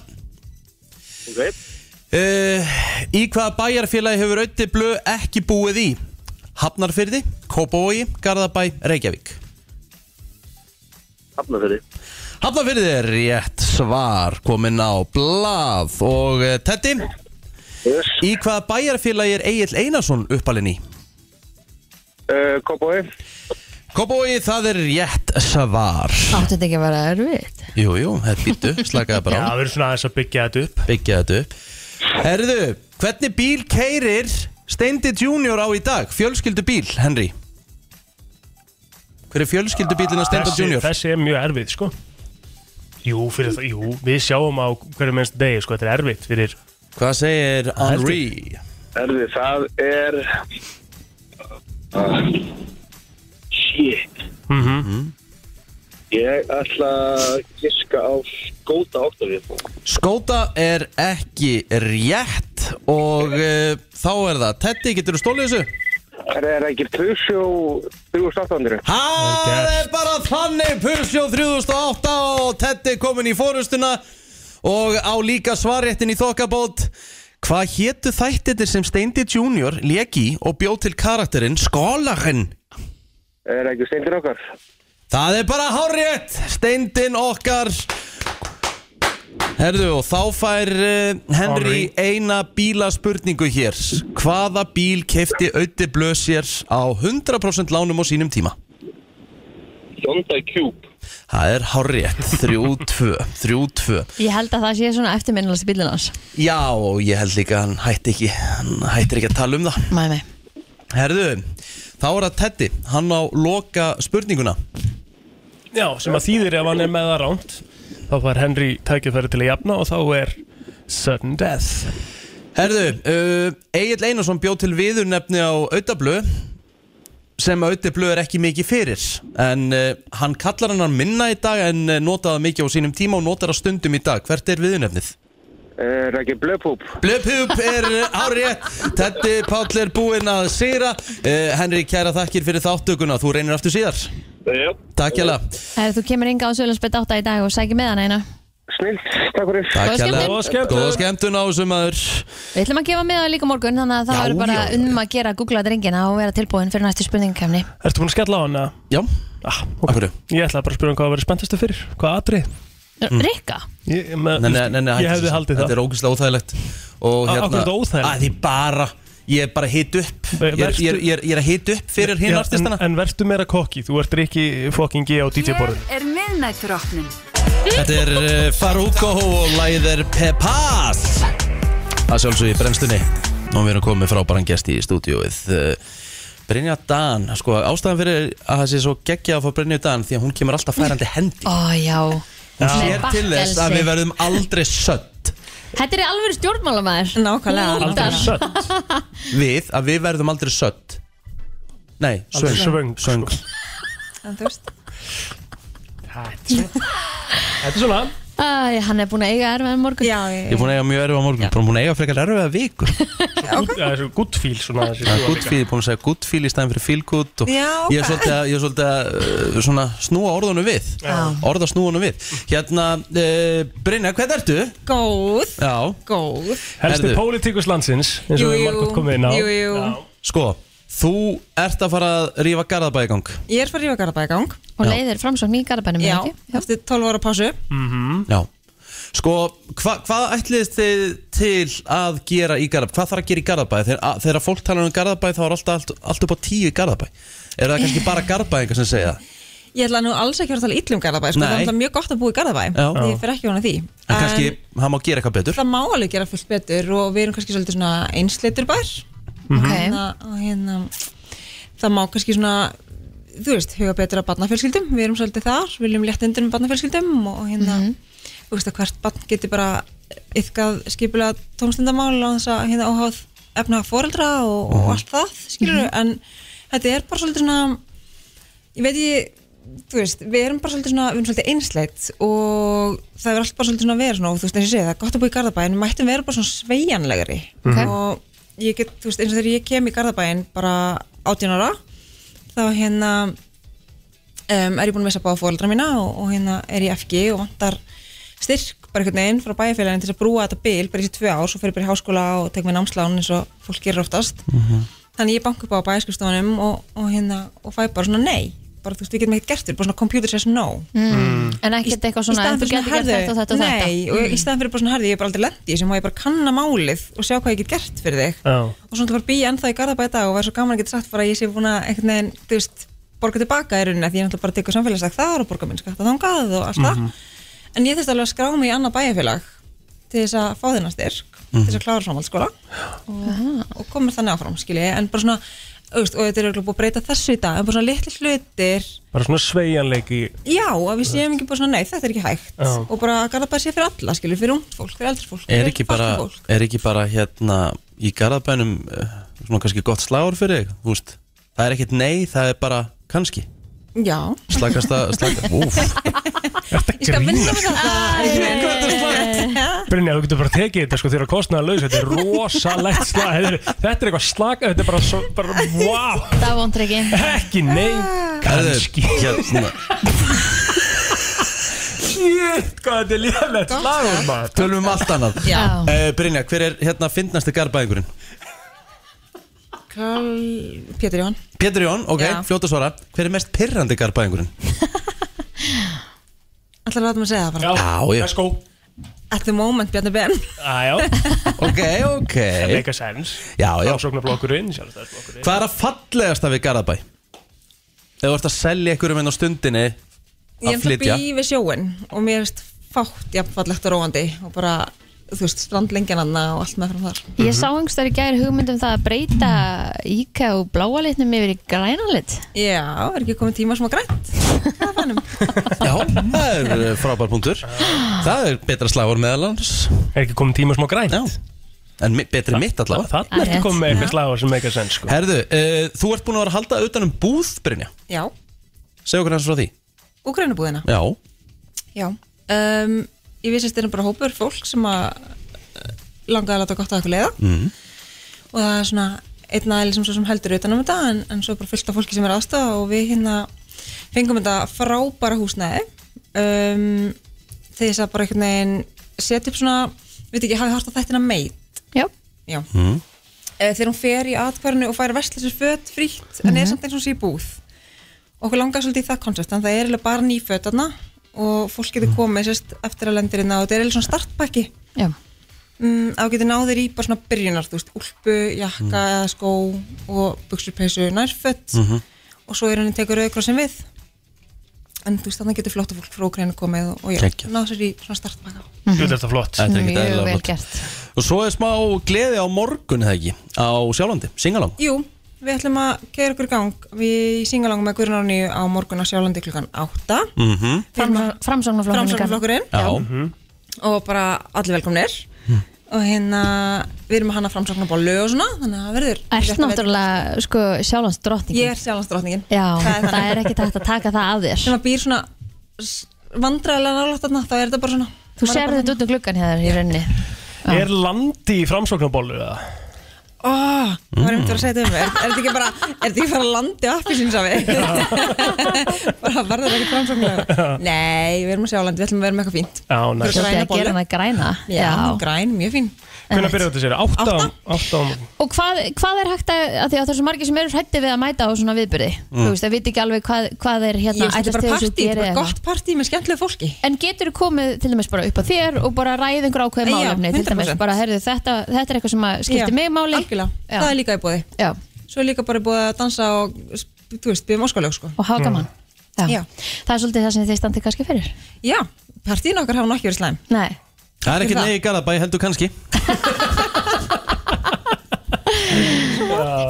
Ok.
uh, Í hvaða bæjarfélagi hefur Ötti Blö ekki búið í? Hafnarfyrði, Kópavogi, Garðabæ, Reykjavík
Hafnarfyrði
Hafnarfyrði er rétt svar komin á blað og uh, Teddy yes. Í hvaða bæjarfélagi er Egil Einarsson uppalinn í?
uh, Kópói
Kópavogi, það er rétt svar
Áttu þetta ekki að vera erfitt?
Jú, jú, þetta býttu, slakaði bara
Já,
á
við erum svona aðeins að byggja þetta upp
Byggja þetta upp Herðu, hvernig bíl keirir Steindi Junior á í dag? Fjölskyldu bíl, Henry Hver er fjölskyldu bílinn að Steindi
Þessi-
Junior?
Þessi er mjög erfið, sko Jú, fyrir það, jú, við sjáum á hverju mennst degi, sko, þetta er erfitt fyrir
Hvað segir Henry?
Erði, það er... Ah, Shit.
mm
Mhm.
Ég ætla að giska á skóta oktavíð.
Skóta er ekki rétt og uh, þá er það Teddy, getur þú stólið þessu?
Það er ekki 2008
Það er bara þannig Pusjó 3008 og Teddy komin í fórustuna og á líka svarréttin í þokkabót Hvað hétu þættirnir sem Steindi Junior leki og bjóð til karakterinn Skólarinn?
Er ekki steindir okkar
Það er bara hárétt, steindin okkar Herðu og þá fær eh, Henry eina bílaspurningu hér Hvaða bíl kefti Ötti Blösjér á 100% lánum á sínum tíma?
Hyundai Cube.
Það er hárétt, 3-2, 3-2
Ég held að það sé svona eftirminnilegst bílinn hans.
Já, og ég held líka að hann hætti ekki, hann hættir ekki að tala um það
Mæ, mæ
Herðu, þá er það Teddy, hann á loka spurninguna
Já, sem að þýðir ef hann er með það ránt Þá fær Henry tækifæri til að jafna og þá er sudden death
Herðu, uh, Egil Einarsson bjóð til viðurnefni á Autablu sem Autablu er ekki mikið fyrir en uh, hann kallar hann minna í dag en uh, notaði mikið á sínum tíma og notar það stundum í dag Hvert er viðurnefnið?
Er ekki blöðpúp?
Blöphup er árið Teddi Páll er búinn að sigra uh, Henri, kæra þakkir fyrir þáttökuna Þú reynir aftur síðar
Já.
Takk hjá
Herðu, þú kemur inga á Sölandsbett 8 í dag og sækir með hana eina.
Snill, takk fyrir
Takk
Góða
hérlega.
skemmtun.
Góða skemmtun á þessum maður
Við ætlum að gefa með það líka á morgun, þannig að það
Já,
verður bara
já, já,
um að gera að googla drengina og vera tilbúin fyrir næstu spurningkæmni.
Ertu búin að skella á hann? eða?
Já
ah, okay. Ég ætlaði bara að spyrja hann hvað að vera spenntastu fyrir Hvað atrið?
Mm. Rikka?
Ég, með,
Nei, nei, nei, nei,
ég hefði
hættu þessu.
haldið það
Þetta er ógæslega óþægilegt Og
Á- af
hérna-
hverju er þetta óþægilegt?
Að því bara, ég er bara að hita upp Ég er, ég er, ég er, ég er að hita upp fyrir hinn
Já,
artistana
en, en verðstu meira kokki, þú ert ekki fucking ég á DJ-borðu
er miðnætturokknin
Þetta er uh, Faruko og læð er Pepaz Það sjálfsög í brennstunni og við erum komið með frábæran gest í stúdíóið uh, Brynja Dan sko ástæðan fyrir að það sé svo geggja að fá Brynja Dan því að hún kemur alltaf færandi hendi
Ó, já.
hún
Með
sér til þess að
bakkelsi.
við verðum aldrei sönd
Þetta er í alvöru stjórnmálamæður.
Nákvæmlega.
Aldrei við að við verðum aldrei sönd Nei,
Aldrei
söng,
svöng, sko.
söng.
En þú veist
Þetta er svona
Æ, hann er búin að eiga erfaðan morgun.
Já,
Ég er búin að eiga mjög erfa morgun, bara búin að eiga frekar erfa viku
Það er svo gutt fíl svona þessi
Það er
sjúga
good feel, ég er búin að segja good feel í stæðin fyrir feel good og
Já, ok.
ég er svolítið að, ég er svolítið að uh, svona, snúa orðunum við
Já.
orða snúanum við Hérna, uh, Brynja, hvernig ertu?
Góð
Já,
Góð
Helsti
Herðu.
pólitíkus landsins eins og
Jú,
við
jú.
margótt komið inn á
Jú, jú. Já.
sko, þú ert að fara að rífa Garðabæ í gang
Ég er farið í Garðabæðgang
Og leiðir framsókn í Garðabænum
Já, eftir 12 ára pásu
mm
Mhm.
-hmm. Já, sko, hva, hvað ætliðist þið til að gera í Garðabæ? Hvað þarf að gera í Garðabæ? Þegar, að, þegar fólk talar um Garðabæ þá er alltaf allt, allt upp á tíu í Garðabæ Er það kannski bara Garðabæingar sem segja það?
Ég ætla nú alls ekki að vera að tala illum Garðabæ sko,
Nei.
Það er náttúrulega mjög gott að búa í Garðabæ
Já.
Því ég fer ekki vona því
En kannski, það má gera eitthvað betur
Það má alveg gera fullt betur og við erum kannski svolítið svona einsleitur bær
Mhm.
og, hérna, og hérna það má kannski svona þú veist, huga betur að barnafjölskyldum við erum svolítið þar, viljum létt undir um barnafjölskyldum og hérna, þú veist að hvert barn getur bara yfkað skipulega tómstundamál á þess að hérna óháð efna foreldra og, og allt það skilur en þetta er bara svolítið svona ég veit ég þú veist, við erum bara svolítið svona, við erum svolítið einsleitt og það er allt bara svolítið svona að vera svona og þú veist, eins og ég segi, það er gott að búa í Garðabæin við mættum vera bara svona sveigjanlegri
Ok.
og ég get, þú veist, eins og þegar ég kem í Garðabæin bara 18 ára þá hérna um, er ég búin að missa báða fóreldra mína og, og hérna er ég FG og vantar styrk bara einhvern veginn frá bæjarfélagin til þess að brúa þetta bil bara í þessi tvö ár, svo fer ég bara í háskóla og tek með námslán eins og fólk gerir oftast
Mhm.
þannig ég banka upp á bæjarskristofunum og, og hérna, og fæ bara svona nei bara þú veist, við getum ekkert gert þér, bara svona computer says no
Mm. En ekkert eitthvað svona,
staðinn
en þú
fyrir
getur gert
herðu,
þetta og þetta og
nei,
þetta.
og
Mm.
í staðan fyrir bara svona herði, ég er bara aldrei lendi þessu, má ég bara kanna málið og sjá hvað ég get gert fyrir þig
Já.
og svona bara býja ennþá í garðabæði dag og væri svo gaman að geta sagt bara að ég sé búin að einhvern veginn, þú veist, borga tilbaka í rauninni, af því ég náttúrulega bara tekur samfélagsdag þar og borga minn skatt og þangað og allt
Mhm.
það en ég þurfti alveg að skrá mig í annað bæjarfélag til þess að fá þennan styrk til þess að klára framhaldsskóla og, og komur þannig áfram, skilji, en bara svona þú veist, og þetta er örugglega búið að breyta þessu í dag en bara svona litli hlutir
Bara svona sveigjanleiki
Já, að við séum ekki bara svona, nei, þetta er ekki hægt
Já.
og bara að Garðabæði sé fyrir alla, skilur, fyrir ungt fólk, fyrir eldri fólk
Er
fyrir
ekki bara,
fatlað fólk.
er ekki bara hérna í garðabænum eh, svona kannski gott slagur fyrir þig, þú veist Það er ekkert nei, það er bara kannski
Já
Slagast að, slagast, úf
Ég skal vinna með þetta einhvern veginn.
Brynja, þú getur bara tekið þetta sko þegar kostnaða laus Þetta er rosalegt slag Þetta er, þetta er eitthvað slag Þetta er bara, svo, bara wow
Það vondur ekki.
Ekki nei, kannski
hérna.
Shit, hvað þetta er lélægt slagur maður
Tölum um allt annað
Já.
uh, Brynja, hver er hérna fyndnasti garðbæðingurinn?
Karl... Pétur Jón
Pétur Jón, ok,
Já.
fljóta að svara Hver er mest pirrandi garðbæðingurinn?
Ætlar að láta mig að segja það bara
Já, já. let's
go
At the moment, Bjarni Ben
Æjá
Ok, ok
Það make a sense
Já, já
Ásóknarflokkurinn, sjálfstæðisflokkurinn
Hvað er að fallegasta við garðabæ? Ef þú ert að selja einhverjum enn á stundinni
Ég er
að
það
flytja
bý við sjóin og mér finnst fátt jafnfallegt og róandi og bara, þú veist, strandlengjananna og allt með frá þar
Ég sá einhverstaðar í gæri hugmyndum það að breyta íka og bláa litnum yfir í græna lit.
Já, er ekki komið tíma sem að grænt
Já, það er eh, frábær punktur Það er betra slagur meðal hans
Er ekki komin tíma smá grænt?
Já En mi- betri mitt allavega
Þannig ertu komið með eitthvað slagur sem make a sense sko
Herðu, uh, þú ert búin að vera að halda utan um búð, Brynja
Já,
Segðu okkur hans frá því
og grænubúðina
Já,
Já um, Ég vissi að þetta er bara hópur fólk sem að langaði að láta gott að okkur leiða
Mhm.
og það er svona einn aðeins sem, svo sem heldur utan á þetta en, en svo er bara fullt af fólki sem er aðstafa og við hérna fengum þetta frábæra húsnæði um, til þess að bara einhvern veginn setja upp svona, við ekki, hafið hort á þættina meit
Já,
Já.
Hmm?
Eh, þegar hún fer í atkvarinu og fær að vesla sér föt frítt en er
Mhm.
samt eins og hún sé í búð okkur langar svolítið í það koncept en það er eiginlega bara ný föt þarna og fólk
Mhm.
getur komið sérst eftir að lendir inn á þetta er eiginlega svona startpakki
Já.
mm, að þú getur náður í bara svona byrjunar þú veist, úlpu, jakka
Mhm.
eða skó og buksurpeysu nærföt
Mhm.
og svo er henni tekur auðgrossin við en þú veist, þannig getur flott að fólk frá Ukraínu komið og, og já,
Geggjað.
náður sér í svona startpakka
Mhm.
Þetta er þetta flott
Þetta er ekkert eðlilega flott.
gert
Og svo er smá gleði á morgun eða ekki Á sjálfandi, singalong
Jú, við ætlum að gera ykkur í gang við singalangum með Guðrun Árni á morgun á sjálfandi klukkan 8
mm -hmm.
Framsóknarflokkurinn líka.
Framsóknarflokkurinn
Já.
og bara allir velkomnir og hérna, við erum að hanna framsóknarbólu og svona, þannig að það verður
Ert náttúrulega sko sjálfans drottningin
Ég er sjálfans drottningin
Já, það er ekkert hægt að taka það að þér
Sem að býr svona vandræðilega nálátt þarna, þá er þetta bara svona
Þú sér þetta út um gluggan hér í rauninni
Er landi í framsóknarbólu eða?
Ó, það var einmitt að vera að segja þetta um mig Er, er þetta ekki bara, er þetta ekki bara landi appi sínsafi? bara verður ekki framsóknlega Nei, við erum að sjá landi, við ætlum að vera með eitthvað fínt
Já,
Þú
næst
ert að
Svolítið
græna
að gera hana græna
Já, græn, mjög fín
Hvernig byrjar þetta sér? Átta? á- Átta? á-
Og hvað, hvað er hægt að, að því að það er svo margir sem eru hrætti við að mæta á svona viðbyrði
Mm.
Þú veist, það viti ekki alveg hvað, hvað er
Ég
hérna
veist, þetta er bara
ætlast til þess að þú gerir
partí, þetta er bara
eitthvað.
gott partí með skemmtilegu fólki
En getur þú komið til dæmis bara upp á þér og bara ræðið einhver ákveðið
Já,
málefni til dæmis
100%.
bara herðu þetta, þetta er eitthvað sem að skiptir mig máli
Algjörlega, það er líka í bóði
Já.
Svo er líka bara í bóði að dansa og sp- þú veist, byrja moskalög sko
Og hafa gaman. Já.
Já.
Það er svolítið það sem þið standið kannski fyrir
Já, partíin okkar hafa nú ekki verið slæm
Nei
Það er ekkert
Það.
negi garðabæ, heldur kannski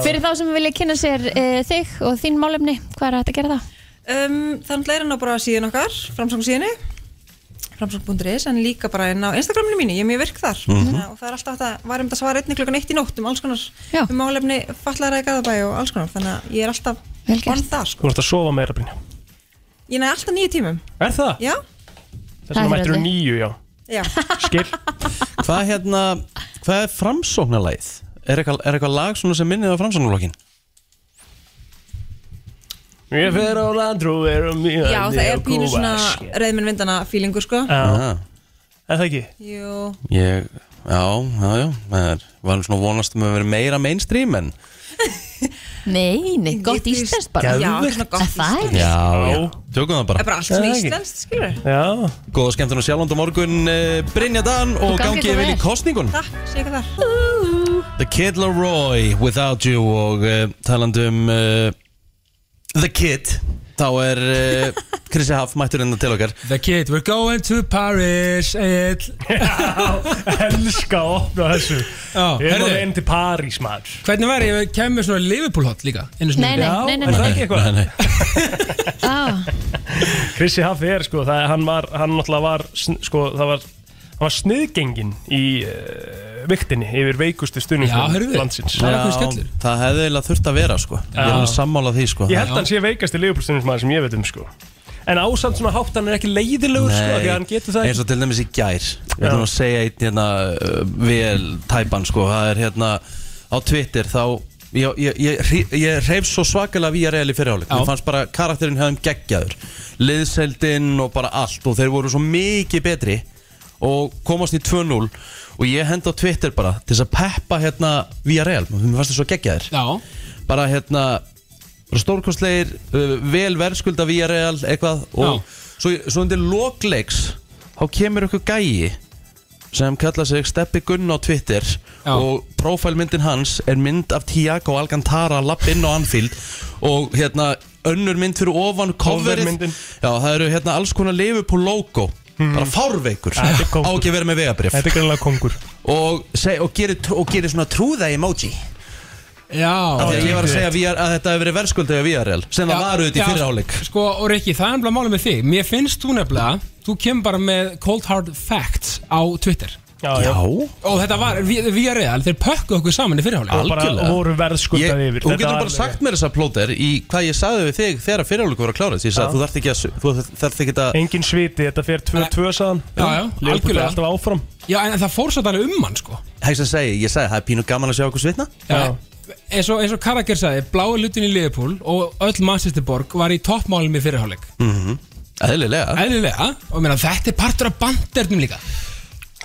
Fyrir þá sem vilja kynna sér uh, þig og þín málefni, hvað er hægt að gera það?
Um, þannig er hann á bara síðan okkar, framsóknsíðinni framsókn.is en líka bara inn á Instagraminu mínu, ég er mjög virk þar
Mhm.
Þannig að- og það er alltaf þetta, varum þetta svara einni klukkan eitt í nótt um alls konar, Já. um álefni fallara í Gaðabæi og alls konar, þannig að ég er alltaf on þar, sko.
Þú ert að sofa meira Brynja
ég næði alltaf nýju tímum
Er það?
Já,
Þess
Það
vegna
er
mættir þú
þetta.
nýju, já
já
Skil
Hvað hérna, hvað er framsóknarlæð? Er eitthvað, er eitthvað lag svona sem minnið á framsóknarlokkin?
Ég fer á landrúver og mjög
Já, það er pínu svona reyðminn vindana feelingur, sko
Já, er það ekki?
Jú,
Ég, já, já, já Það er, varum svona vonast um að vera meira mainstream en
Nei, nei, gott íslenskt bara
Geðveikt.
Já, svona gott íslenskt
Já, já, tökum það bara
er bara allt svona íslenskt, skilur
Já
Góða skemmtun á sjálfand og morgun eh, Brynja Dan og
Og gangi
gangi
ykkur
yfir í
vel.
kostningun
Takk, sé ekki þar
The Kid Laroi, Without You og uh, talandi um uh, The Kid þá er uh, Krissi Haf mættur enda til okkar
The kid, we're going to Paris Egil
Elska að opna þessu
Já,
Ég er
heyrðu.
bara einn til París maður
Hvernig var ég, kemur svona Liverpool hot líka einu sinni?
Nei, nei, Já, nei, nei, er það nei. ekki eitthvað?
Nei,
Krissi Haffi er sko það, hann var, hann náttúrulega var sn- sko, það var, hann var sniðgengin í uh, viktinni yfir veikustu stuðningum landsins
Já, það hefði eiginlega þurft að vera sko Ég er
Já.
alveg sammála því sko
Ég held að hann sé veikasti leifupúlstunismæður sem ég veit um sko En ásamt svona hátt hann er ekki leiðilegur sko af Því að hann getur það
eins
ekki
og til dæmis í gær Við erum að segja einn hérna uh, vel tæpan sko, það er hérna á Twitter þá ég, ég, ég, hrí- ég reyf svo svakalega við að reyli fyrirháleik,
Já.
mér fannst bara karakterinn hefðum geggjaður, liðseldinn og bara allt og þeir voru svo mikið betri og komast í 2-0 og ég henda á Twitter bara til þess að peppa hérna við að reyli, mér fannst það svo geggjaður
Já.
bara hérna bara stórkostlegir, uh, vel verðskulda við að reyli eitthvað og svo, svo undir lokleiks þá kemur ykkur gæi sem kalla sig Steppi Gunn á Twitter og prófælmyndin hans er mynd af Tiago Alcantara lapp inn á Anfield og hérna önnur mynd fyrir ofan coverið
Covermyndin.
Já, það eru hérna alls konar Liverpool logo bara fárveikur
Ja, þetta er kóngur.
á ekki að vera með vegabrif
Þetta er greinlega kongur
og, seg, og, gerir, trú- og gerir svona trúða emoji
Já
Af því að ég var að segja VR, að þetta hefur verið verðskuldið að VRL sem það var auðvitað í
Já,
fyrir áleik
Sko, og Rikki, það er nefnilega málið með þig Mér finnst þú nefnilega, þú kemur bara með cold hard facts á Twitter
Já, já.
Og þetta var, við erum reðal, E þeir pökkuð okkur saman í fyrirháleik
Algjörlega
verðskuldaði
Ég- Þú getur bara sagt mér þessa plóter í hvað ég sagði við þig þegar fyrirháleikur var að klára Ég sagði
Já.
þú þarft ekki að su- þú þarft ekki að
Engin sviti, þetta fer 2-2 saðan
Já, já, algjörlega.
alltaf áfram
Já, en það fór satt alveg um hann, sko
Það er sem að segja, ég sagði það er pínu gaman að sjá okkur svitna
Já. Eins og, eins og Karakir sagði, blái lutin í Liverpool og öll Manchesterborg var í toppmálum í fyrirháleik
Mhm. Eðlilega
Eðlilega, og meina, þetta er partur af bandernum líka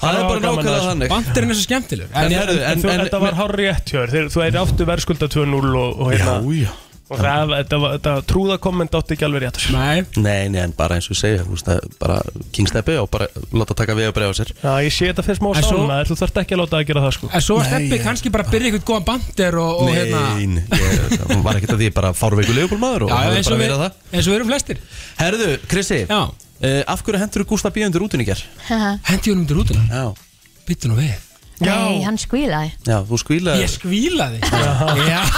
Það er bara nákvæmlega þannig
Banderinn er svo skemmtilegur
En, en, en, þú- þetta var
en-
hár rétt hjör Þeir, Þú hefði áttu verðskulda 2-0 og, og hérna
Já, já
Og það, þetta, var- þetta trúðakomment átti ekki alveg rétt sko. á sér
Nei
Nei, nei, en bara eins og ég segja, þú veist það er bara kingsteppi og bara láta taka við að bregða sér
Já, ég sé þetta fyrir smá
En svo-
sána Þú þarft ekki að láta það að gera það sko
En svo var Steppi kannski bara að byrja eitthvað góðan bandir og, og hérna
Nein, ég hún var ekkert að því bara fárveiku leifbólmaður og
Já,
hafði
eins og
bara
við-
verið það
eins og við erum flestir
Herðu, Krissi, uh, af hverju hendur þú Gústa B. undir rútun í ger?
Hendi hún undir rútuna
Já
Byttu nú við
Nei, hann skvílaði
Já, þú skvílaði
Ég skvílaði Já,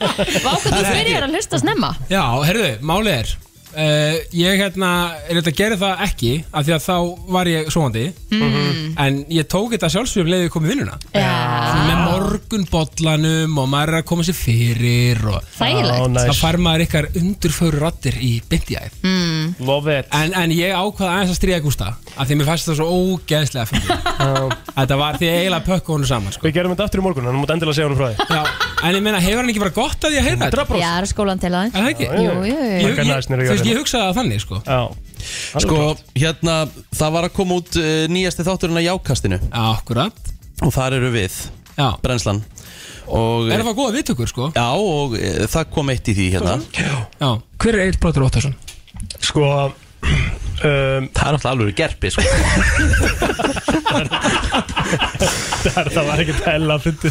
Vákvæmdu
Það er
fyrir
ekki-
er að hlusta snemma
já herðu, málið er uh, Ég hérna, er þetta að gera það ekki af því að þá var ég svoandi
Mm.
en ég tók þetta sjálfsögum leiðið komið vinnuna Svona með
Ah.
morgunbollanum og maður er að koma sér fyrir og
Þægilegt. Já,
það
nice.
fær maður ykkar undurföru rattir í byndiæð
mm.
Love it
en, en ég ákvaða aðeins að stríða Gústa af því að mér fannst þetta svo ógeðslega fyrir Þetta var því að ég eiginlega pökku honum saman sko.
Við gerum þetta aftur í morgun, hann mútt endilega segja honum frá því
Já, En ég meina, hefur hann ekki bara gott að ég heyra þetta?
Já, er skólan til aðeins
Er það ekki?
Jú, jú,
Ég-
jú
ég- Þú veist, ég
jörðina.
hugsaði það þannig sko
Já
Sko, hérna, það var að koma út uh, nýjasti þátturinn að jákastinu
Akkurat
Og þar eru við,
Já.
brennslan og,
Er það góða viðtökur sko?
Já, og uh, það kom eitt í því hérna
Já Hver er Egil Bróttur Óttarsson?
Sko um, Það er
náttúrulega alveg gerpi sko.
Það það var ekkert hella að fyndi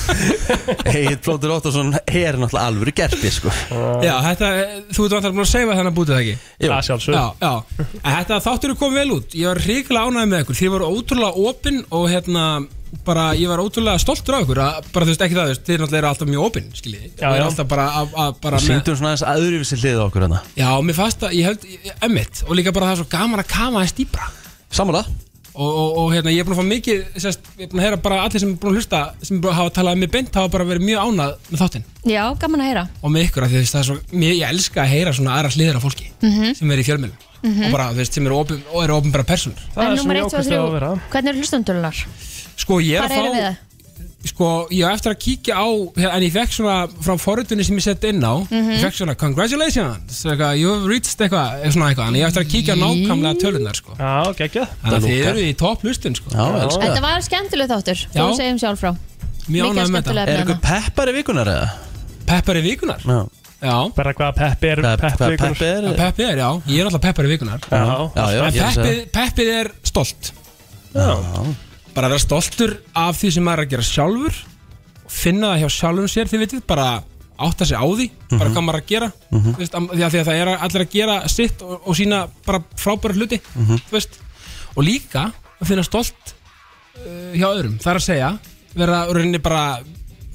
Egil Plótur Óttarsson er náttúrulega alveg gerpi sko.
Já, þetta, þú ert vantar búin að segja þannig að bútið það ekki?
Jú.
Það sjálfsög
Já, já. En þetta þáttur er komið vel út Ég var ríkilega ánægð með ykkur Þið voru ótrúlega opinn og hérna bara, ég var ótrúlega stoltur af ykkur að, bara þú veist ekki það, þú veist, þið náttúrulega eru alltaf mjög opinn skiljið,
Já,
og
já.
eru alltaf bara, að, að, bara með
Sýndum svona aðeins aðrið við sér hliðið á okkur hérna
Já, mér fannst að, ég held, emmitt og líka bara það er svo gaman að kafa þess dýbra
Sammála
og, og, og hérna, ég er búin að fá mikið sérst, ég er búin að heyra bara allir sem er búin að hlusta sem bara hafa talað um mig beint, hafa bara verið mjög ánað með þáttinn
Já, gaman að heyra
og með ykkur, af því þú veist, það er svo mér, ég elska að heyra svona aðra hliðir af fólki
Mhm.
sem er í fjölmjölum
Mhm.
og bara, þú veist, sem eru opin, og eru opinbara personur
En númer 1, 2, 3, hvernig eru hlustundunar?
Sko, ég er
Hvað
að
eru við
fá
það?
Sko, ég á eftir að kíkja á hérna, En ég fekk svona frá forritunni sem ég sett inn á
Mhm.
Ég fekk svona, congratulations eitthvað, You've reached eitthvað, eitthvað, eitthvað En ég á eftir að kíkja á nákvæmlega tölunar sko.
Já, geggja
Þannig að
Það
þið
lúkar.
eru í topp lustin sko.
Já, elska
Þetta var skemmtileg þáttur, þú
Já.
segjum sjálf frá
Mjög
Mikið
ánægður með þetta.
skemmtileg
Er
efni
eitthvað peppari vikunar eða?
Peppari vikunar?
Já,
Já.
Bara hvað peppi er peppi
hvað
vikunar.
peppi er?
Já, Peppi er, já, ég er alltaf peppari vikunar
Já, já, já,
En
ég er að
peppið,
segja.
peppið er stolt Bara að vera stoltur af því sem maður er að gera sjálfur og Finna það hjá sjálfum sér, þið veitir Bara átta sig á því, bara
Mhm.
hvað maður er að gera mm
Mhm.
veist, am- því, að því að það er allir að gera sitt og, og sína bara frábæra hluti
Mhm.
þú veist. Og líka að finna stolt uh, hjá öðrum Það er að segja, vera í rauninni bara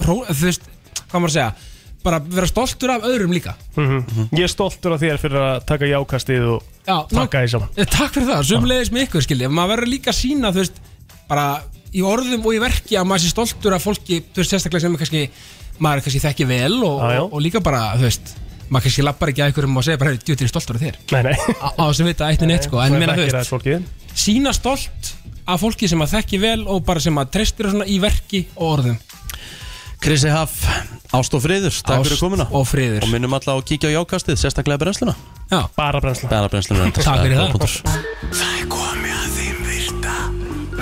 ró, Þú veist, hvað maður að segja Bara vera stoltur af öðrum líka
Mhm. Ég er stoltur af þér fyrir að taka jákastið og
Já,
taka því saman
Eh, Takk fyrir það, sumleiðis með ykkur skilji maður verður líka að sína þú veist bara í orðum og í verki að maður sé stoltur af fólki, þú veist sérstaklega sem er kannski, maður kannski þekki vel og,
Já, já.
og, og líka bara, þú veist maður kannski lappar ekki að ykkur um að segja bara "Heyrðu, djöfull er ég stoltur af þér
Nei, nei
á á þessum vita eitt en eitt sko, en
Maður
meina þú
þekkir
veist
aðeins fólkið.
sína stolt af fólki sem maður þekki vel og bara sem maður treystir og svona í verki og orðum
Krissi Haff, ást og friður, takk
Ást
fyrir komuna
og friður
Og minnum alla á að kíkja á jákastið, sérstaklega brennsluna
Já.
Bara brennsluna
Bara brennsluna
Takk fyrir það.
Það er komið að þeim virta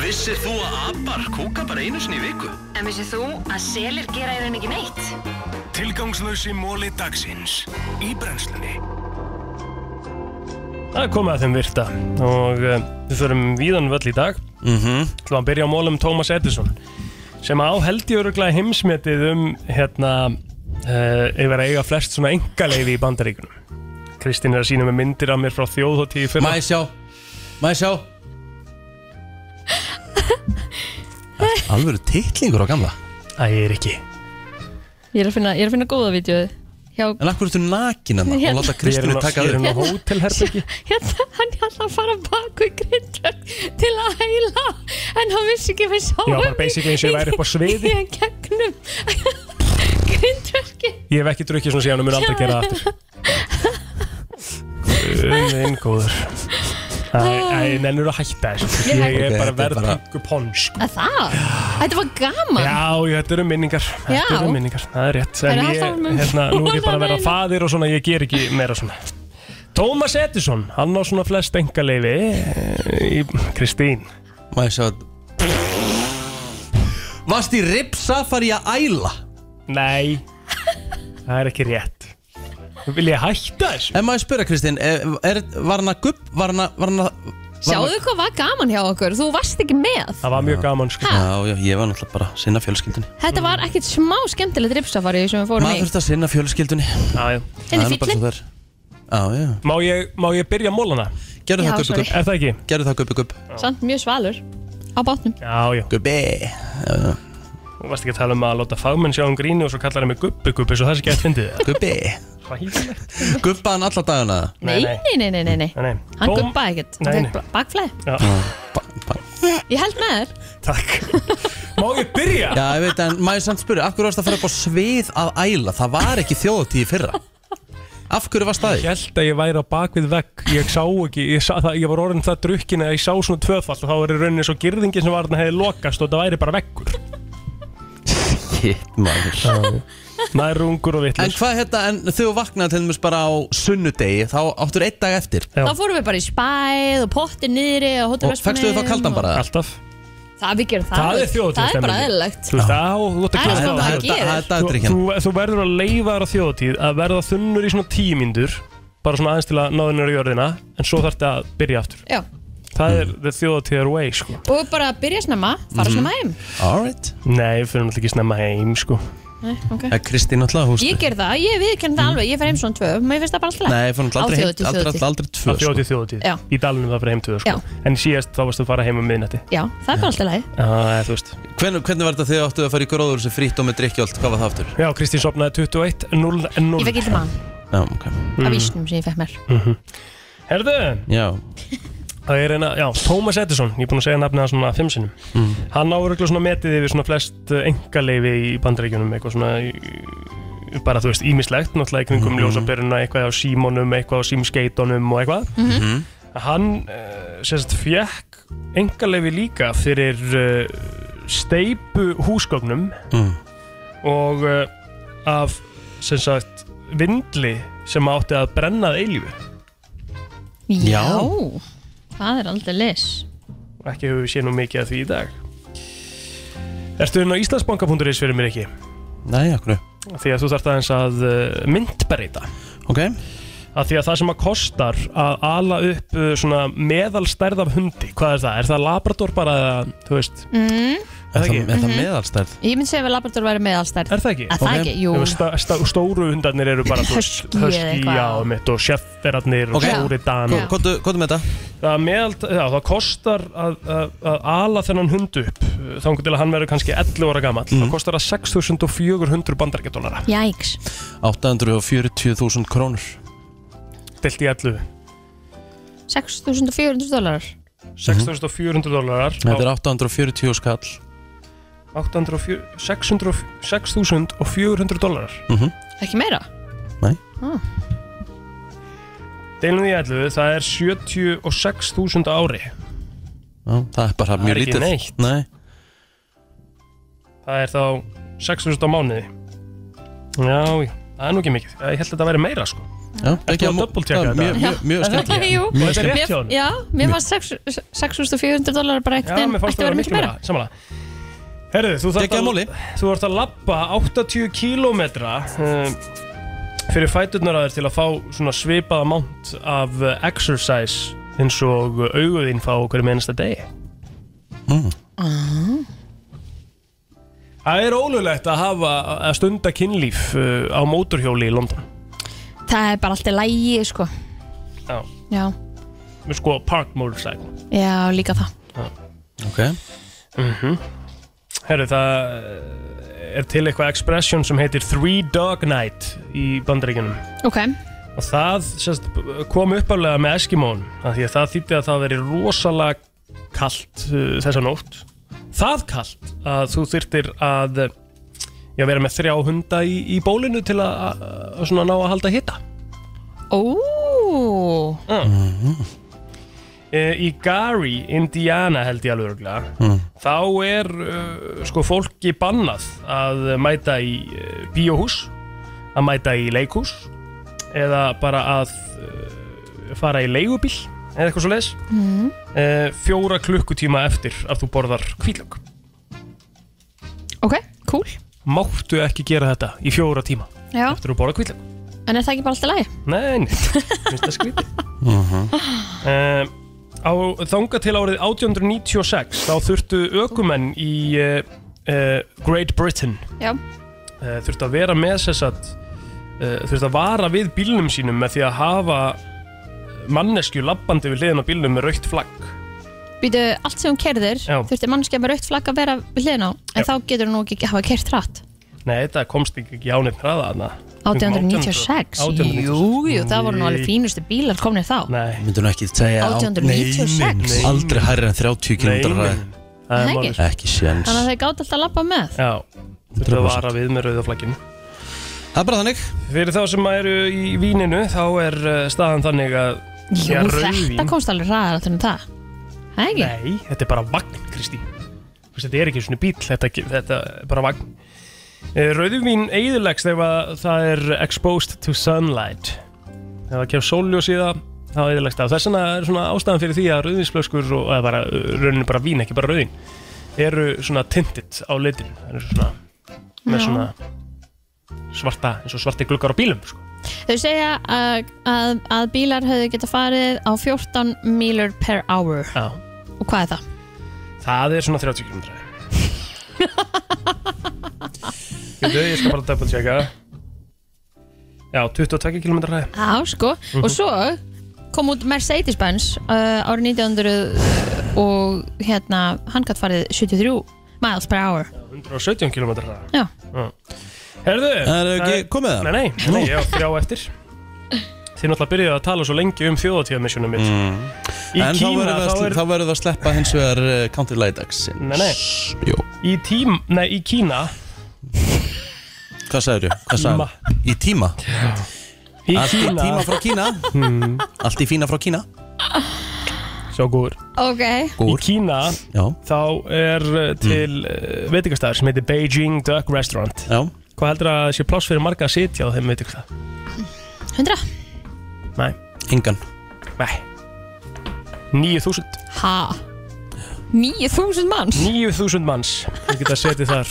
Vissir þú að abar kúka bara einu sinni í viku?
En vissið þú að selir gera í raun ekki neitt?
Tilgangslösi móli dagsins Í brennslunni
Það er komið að þeim virta og uh, við förum víðan völl í dag mm
Mhm.
-hmm. til að byrja á mólum Thomas Edison sem á held í öruglega heimsmetið um hérna uh, yfir að eiga flest svona engaleifi í bandaríkunum Kristín er að sína með myndir af mér frá þjóðhóttíði fyrir
Mæ sjá, mæ sjá Alveg eru titlingur á gamla
Æ, ég er ekki
Ég er að finna, ég er að finna góða vídjóð hjá
En akkur ertu nakin hann og láta Kristínu taka
Ég er inn á
þig
hótelherbyggi
hérna, hann er alltaf að fara baku í grindvöld til að heila en hann vissi ekki að við sáum
Ég var bara basically eins og ég væri upp á sviði.
í gegnum grindvöldki
Ég hef ekki drukkið svona síðan og mun aldrei gera það aftur Guðin góður Æ, æ, nennur að hætta þessu
Ah. Ég
Ég er
hætti.
bara
Ok, þetta er
verð
bara-
pingu pons sko.
að það, þetta var gaman
Já, já, þetta eru minningar
Já.
Þetta eru minningar, það er rétt En
Það er
ég,
alltaf með-
hérna, nú er ég bara að vera
Ólafur.
fadir og svona Ég ger ekki meira svona Tómas Edison, hann á svona flest engaleifi í Kristín
Má ég sjá Vast í ripsafari að æla
Nei Það er ekki rétt Vil ég hætta þessu?
En maður spyrja Kristín, er, er, var hann að gubb, var hann að, var hann að
sjáðu hvað var gaman hjá okkur, þú varst ekki með
Það var mjög gaman sko
Já, já, ég var náttúrulega bara að sinna fjölskyldunni
þetta var ekkit smá skemmtilegt ripsafari sem við fórum
Maður
í
þurft að sinna fjölskyldunni
Já, já
En í fíllinn?
það er Já, já
Má ég, má ég byrja mólana?
Gerðu
Já,
það gubbi
sorry.
gubb
Er það ekki?
Gerðu það gubbi gubb
samt mjög svalur á bátnum
Já, já
Gubbi
Þú varst ekki að tala um að láta fagmenn sjá um gríni og svo kallar hann mig gubbi gubbi svo það sé ekki að fyndið það.
Gubbi
Hræðilegt.
Gubba hann alla dagana
nei,
nei.
nei, nei, nei, nei, nei.
Nei, nei.
hann
Tóm-
guppaði ekkit,
Nei,
hann
nei.
fekk bakflæði
Já.
ég held með þér
Má ég byrja?
Já, ég veit, en maður samt spyrja, af hverju varst að fara upp á svið að æla? Það var ekki þjóðatíð í fyrra Af hverju varst það?
Ég held að ég væri á bakvið vegg Ég sá ekki, ég, sá, það, ég var orðin það drukkin að ég sá svona tvöfall og þá var í rauninni svo girðingin sem var þarna hefði lokast og það væri bara veggur
Hitt maður
Nærungur og
En
vitlis
hvað hérna, en þegar þú vaknaði til dæmis bara á sunnudegi Þá áttur einn dag eftir
Já.
þá fórum við bara í spæð og potti niðri og
Og fegstu
hótelverspunum
þau þá kaldan bara?
Alltaf
það við gerum það
Það er þjóðtíð
það er bara eðlilegt
Þú veist, á, þú átt
Það er
að gera
svona
það
það gerir. Það er
dagdrykkjan.
Þú, þú, þú verður að leifa þar á þjóðtíð að verða þunnur í svona tímindur bara svona aðeins til að náðu nýra jörðina en svo þarf að byrja aftur
Já.
Hmm.
Það er the þjóðtíðar way sko
og bara byrja snemma, fara
Mhm.
snemma heim
Alright
Nei, við fyrir náttúrulega ekki snemma heim sko
Nei, ok.
En Eh, Kristín alltaf, hústu
ég ger það, ég viðkenn það alveg, ég fer heim svona tvö mér finnst það bara alltaf
Nei, ég fór náttúrulega aldrei heim- aldrei- aldrei- aldrei tvö,
Á þjóðtíð,
sko.
þjóðtíð
Já.
Í dalunum það fyrir heim tvö sko En síðast þá varstu að fara heim um miðnætti
já, það er bara alltaf leið
Já, þú veist
Hvern, Hvernig var þetta þegar áttu að fara í gróður sem frýtt og með drikkjólt? Hvað var það aftur?
Já, Kristín sopnaði 21 0 0
ég fekk eitthvað mann
Já, ok
Mm.
af vísnum sem ég fekk mér
Herðu
Já
Það er eina, já, Thomas Edison, ég er búinn að segja nafnið hann svona fimm sinnum
Mhm.
Hann áreiklega svona metið yfir svona flest engaleifi í bandaríkjunum Eitthvað svona, í- bara þú veist, ímislegt Náttúrulega í kringum mm
Mhm.
eitthvað á símonum, eitthvað á símskeitunum og eitthvað
Mhm.
Hann, uh, sem sagt, fekk engaleifi líka fyrir uh, steipu húsgögnum
Mm.
Og uh, af, sem sagt, vindli sem átti að brennað eilífi
já,
Já.
það er alltaf leis
og ekki hefur við séð nú mikið af því í dag Ertu inn á íslandsbanka.is fyrir mér ekki?
Nei, akkur
Því að þú þarft aðeins að uh, myndberita
Ok
að Því að það sem að kostar að ala upp uh, svona meðalstærð af hundi Hvað er það? Er það labrador bara eða, þú veist
mm.
Er það ekki?
Er það
Mhm.
meðalstærð?
ég myndi segja að Labrador væri með allstærð
Er það ekki?
að það ekki, jú
Ef sta, sta, Stóru hundarnir eru bara þú veist,
Husky eða eitthvað.
já, mitt og sjefferarnir
Ok.
og stóri dan
Hvað- hvað- Hvað er með þetta?
Það, meðald, já, það kostar að, að, að ala þennan hund upp þangur til að hann verður kannski 11 ára gamall
Mhm.
það kostar það 6400 bandarækjadólara
jæks,
840.000 krónur
delt í 11
6400 dólarar
6400 dólarar
Mhm. Þetta er 840 skall
6400 dólarar
mm
ekki meira
Nei.
Ah.
deilum því 11, það er 76.000 á ári
Já, Það er bara
Það er
mjög
ekki
lítið
neitt.
Nei
það er þá 6000 á mánuði já, já, það er nú ekki mikið ég held að þetta væri meira sko
Já,
Ertu að double checka þetta?
Mjög, mjög, mjög
Já.
skemmt
Jú,
Og þetta er rétt hjá
mér-
honum.
já, mér fannst sex- 6400 dólar bara
Já,
ekkert en
mér fannst
ætti að
það
vera miklu meira
Samanlega Herðu, þú þarft
Gekkjaður
að,
múli.
þú þarft að labba 80 kílómetra um, fyrir fæturnar að þér til að fá svona svipaða mánt af uh, exercise eins og auguðinn fá á hverju mennsta degi Það er ólulegt að hafa að stunda kynlíf uh, á móturhjóli í London
það er bara alltaf lægi sko.
Já,
já,
með sko park motorcycle
já, líka það
Ok
mm Herru, það eh, er til eitthvað expression sem heitir Three Dog Night í bandaríkjunum
Ok,
og það sérst, kom uppalega með Eskimón af því að það þýtti að það veri rosalega kalt uh, þessa nótt það kalt að þú þyrtir að uh, já, vera með þrjá hunda í, í bólinu til að, að, að svona ná að halda hita
Ó
Uh, Mm. í Gary, Indiana held ég alveg örgulega
Mm.
þá er uh, sko fólki bannað að mæta í uh, bíóhús að mæta í leikhús eða bara að uh, fara í leigubíl eða eitthvað svo leiðis
Mm.
fjóra klukkutíma eftir að þú borðar kvílögg
ok, cool
máttu ekki gera þetta í fjóra tíma
Já.
eftir að borða kvílögg
En er það ekki bara alltaf lægi?
Nei, nei, finnst það skrítið uh, á, Þanga til árið 1896 þá þurftu ökumenn í uh, uh, Great Britain
Já,
uh, þurftu að vera með þess að uh, þurftu að vara við bílnum sínum með því að hafa manneskju lappandi við hliðin á bílnum með raukt flagg
býtu allt sem hún kerðir
Já.
Þurfti mannskja með rautt flagg að vera við hliðin á En þá getur hún nú ekki hafa kert rætt
Nei, þetta komst ekki ekki ánir hraða hana
1896, jú, jú, það voru nú alveg fínustu bílar komnir þá
Nei
Myndur nú ekki segja á-
1896?
Nei, nei, nei. Aldrei hærri en 30 km
Nei, nei, nei. Það
Nei,
er
ekki.
málið.
Ekki séns
Þannig að þeir gátt alltaf að labba með
Já, þurftu að vara við með rauða flagginu
Það er bara þannig
Fyrir þá sem eru í víninu þá er uh, staðan þannig að
Jú,
Já,
þetta
rauðvín.
komst alveg ræðar alltaf um það Það ekki?
Nei, þetta er bara vagn, Kristi Þú veist, Þetta er ekki svona bíl, þetta, þetta er bara vagn Eh, Rauðvín eiðilegs þegar það er exposed to sunlight Þegar það kemur sóljós í það þá eiðilegs það Þess vegna er svona ástæðan fyrir því að rauðvinsflöskur og eða bara, rauninu bara vín, ekki bara rauðin eru svona tinted á litin Það eru svona með
Já.
svona svarta, eins og svarti gluggar á bílum sko.
Þau segja að, að, að bílar höfðu geta farið á 14 mílur per hour
Já.
Og hvað er það?
Það er svona 30 km Getu, ég skal bara double checka Já, 22 km ræði
Já, sko,
Mhm.
og svo kom út Mercedes-Benz uh, árið 1900 og hérna, hann gætt farið 73 miles per hour
117 km ræði
Já.
Herðu
Það er ekki komið það?
Nei, nei, nei, ég á þrjá eftir Þið náttúrulega byrjuðu að tala svo lengi um þjóðatíðamissunum mitt Í
Mm. En þá
Kína
verður
þá
það-
er
þá verður það að sleppa hins vegar uh, County Light Accent
Nei, nei Í tím, nei, í Kína
Hvað sagður Hvað sagður? Í tíma
Í
Allt í
Kína. Hmm.
tíma frá Kína Allt í fína frá Kína
Sjá góður
Ok
Í Kína
Já.
þá er uh, til mm. veitingastæður sem heitir Beijing Duck Restaurant
Já.
Hvað heldur að sé pláss fyrir marga að sitja á þeim veitingastæð?
100?
Nei
Engan
Nei 9000
Ha? 9000 manns?
9000 manns Við getum að setja þar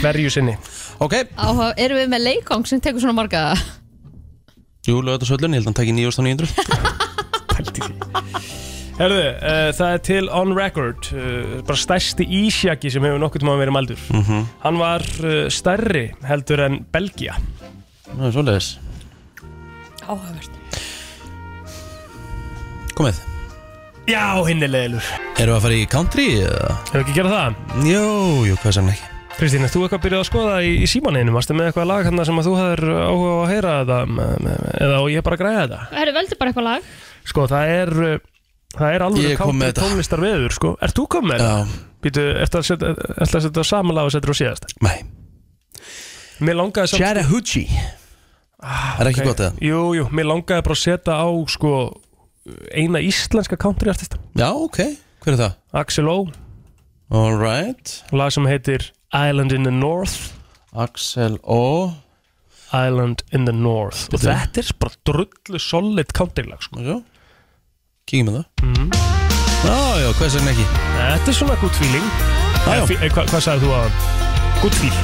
hverju sinni
Ok
Áhuga, erum við með leikong sem tekur svona marga?
Jú, lögðu söllun, ég held að hann takk í 9900
Herðu, uh, það er til on record uh, bara stærsti ísjaki sem hefur nokkuð tíma verið maldur
Mhm.
Hann var uh, stærri heldur en Belgia
Nú, svoleiðis
Áhugavert
Komið
Já, hinnilegilur
Erum við að fara í country? Hefur
ekki gerað það?
Jú, jú, hvað sem ekki
Kristín, ert þú eitthvað byrjuð að skoða í, í símaninu? Varstu með eitthvað lag hann sem að þú hafðir áhuga á að heyra þetta með- með- eða og ég bara að græða þetta?
Herru, veldu bara eitthvað lag
Sko, það er uh, það er alveg
Ég kom með
kátt
þetta.
tónlistar veður, sko Ert þú komið? Já Býtu, ertu að setja ertu að setja saman lag og setja á síðast?
Nei
Mér langaði samt
Chattahoochee
ah,
Er ekki
ok.
gott eða?
Jú, jú, mér langaði bara að setja á, sko eina íslenska countryartista
Já, ok, hver er það?
Axel Ó
Alright
Lag sem heitir Island in the North
Axel Ó
Island in the North Og þetta er bara drullu solid countrylag, sko Mhm.
Já Kíkjum við það Já, já, hvað sem ekki
Þetta er svona good feeling
Já, já.
Eh, fí- eh, hva- Hvað sagði þú að Good feel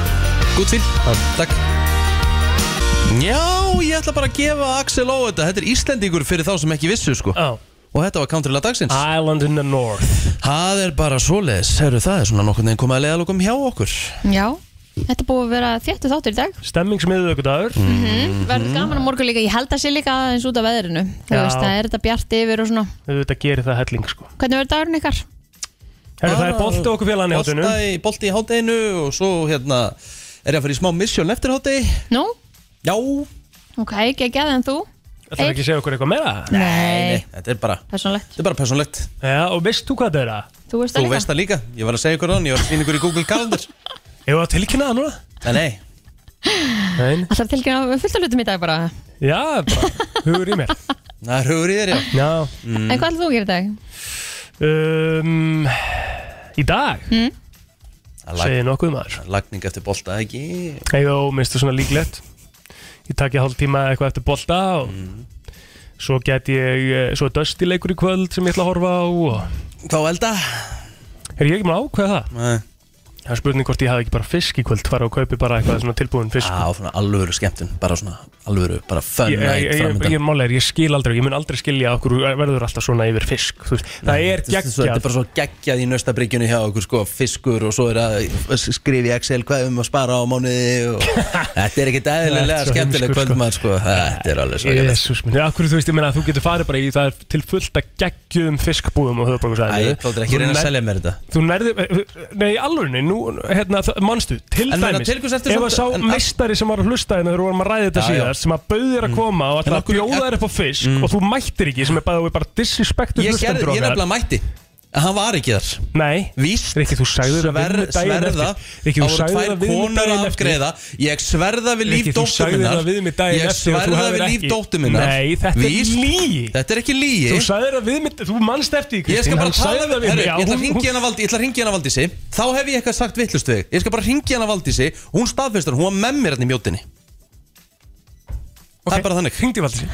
Good feel Takk Já, ég ætla bara að gefa Axel Ó þetta Þetta er Íslendingur fyrir þá sem ekki vissu sko
Já
Og þetta var countrylag dagsins
Island in the North
Það er bara svoleiðis, herru það er svona nokkur neginn komið að leiða lókum hjá okkur
Já, þetta er búið að vera þéttu þáttur í dag
Stemmingsmiðuðugudagur
mm
Mhm.
Verður gaman á morgun líka, ég held að sé líka aðeins út af veðrinu Þú
Mhm. Já.
veist, það er þetta bjart yfir og svona
Þetta gerir það helling sko
Hvernig verður dagurinn ykkar?
Herru, það er bolti okkur félaginn í
Ah, Bolta
hátinu.
í- Bolti í hátinu og svo hérna er ég að fara í smá misjón eftir hátinu
Nú,
Já
ok, geggjað en þú?
Það er ekki að segja okkur eitthvað meira?
Nei. Nei,
þetta er bara
Persónlegt
Þetta er bara persónlegt
Já, og veist þú hvað það er að?
Þú veist það
Þú
líka
veist það líka, ég var að segja ykkur án, ég var að sýna ykkur í Google Calendar
Ég var að tilkynna það núna?
Nei, nei
Nein.
Alltaf tilkynna fullt af hlutum í dag bara
Já, bara hugur í mér
Það er hugur í þér, já
Já Mm.
En hvað ætlum þú að gera í dag?
Um, í dag?
Mm.
Segðu nokkuð maður
Lagning eftir bolta, ekki?
Jó, minnst það svona líklegt Ég takk ég hálf tíma eitthvað eftir bolta og
Mhm.
svo get ég eh, svo er Dusty leikur í kvöld sem ég ætla að horfa á og...
Þá elda
Er ég ekki maður ákveða það?
Nei
Það er spurning hvort ég hafi ekki bara fisk í kvöld fara og kaupi bara eitthvað svona tilbúin fisk
Já, svona alvöru skemmtun, bara svona alvöru, bara fun
Ég, ég,
night
ég, ég,
framöndan
málega, ég skil aldrei, ég mun aldrei skilja okkur verður alltaf svona yfir fisk þú veist. Það er
Þetta svo- þetta er
geggjað
bara svo geggjað í nöstabrygginu hjá okkur sko, fiskur og svo er að skrifa í Excel hvað um að spara á mánuði og þetta er ekki dæðilega
Þetta er svo
skemmtileg
heimskur, sko.
kvöldmaður sko, þetta er alveg svo
Jésús minn, akkur þú veist, ég meina að þú getur farið bara í það er til fullt að geggjum fiskbúðum og höfðbókusæði
Æ, plótur ekki reyna að selja mér þetta
Þú nærði, nei, í alvörunni, nú, hérna, það- manstu, til
En meina,
dæmis
til hvers ertu
Ef að sá
samt- en-
meistari sem var að hlusta hérna þegar við vorum að ræða þetta
Já, já.
síðar sem að bauðir að koma og
En
alltaf að
okkur-
bjóða þér upp á fisk og þú mættir ekki sem er bara, bara disrespektur
Ég gerði,
hlustendur
ég nefnilega mætti En hann var ekki þar
Nei,
Víst,
Rikki, þú sagði það
Sver,
við
sverða
Rikki, þú
Það voru
sagði
tvær
það við mig
konur að
daginn eftir
afgreða Ég sverða við líf
Rikki, þú
dóttur
sagðir
minnar
það við mig daginn
Ég
eftir og þú
sverða
hafðir
við líf
ekki-
dóttur minnar
Nei, þetta er
Víst,
lygi.
Þetta er ekki lígi
Þú sagðir það við mig, þú mannst eftir því,
Ég
Kristín,
skal bara
hann sagði
tala
það
við, herru,
mig, já,
ég
hún-
ætla að
hún-
ringja hana Valdísi Ég ætla að ringja hana Valdísi Þá hef ég eitthvað sagt vittlust við þig Ég skal bara ringja hana Valdísi Hún staðfyrst hún var með mér hérna í mjótinni Það er bara þannig
Ringdi Valdísi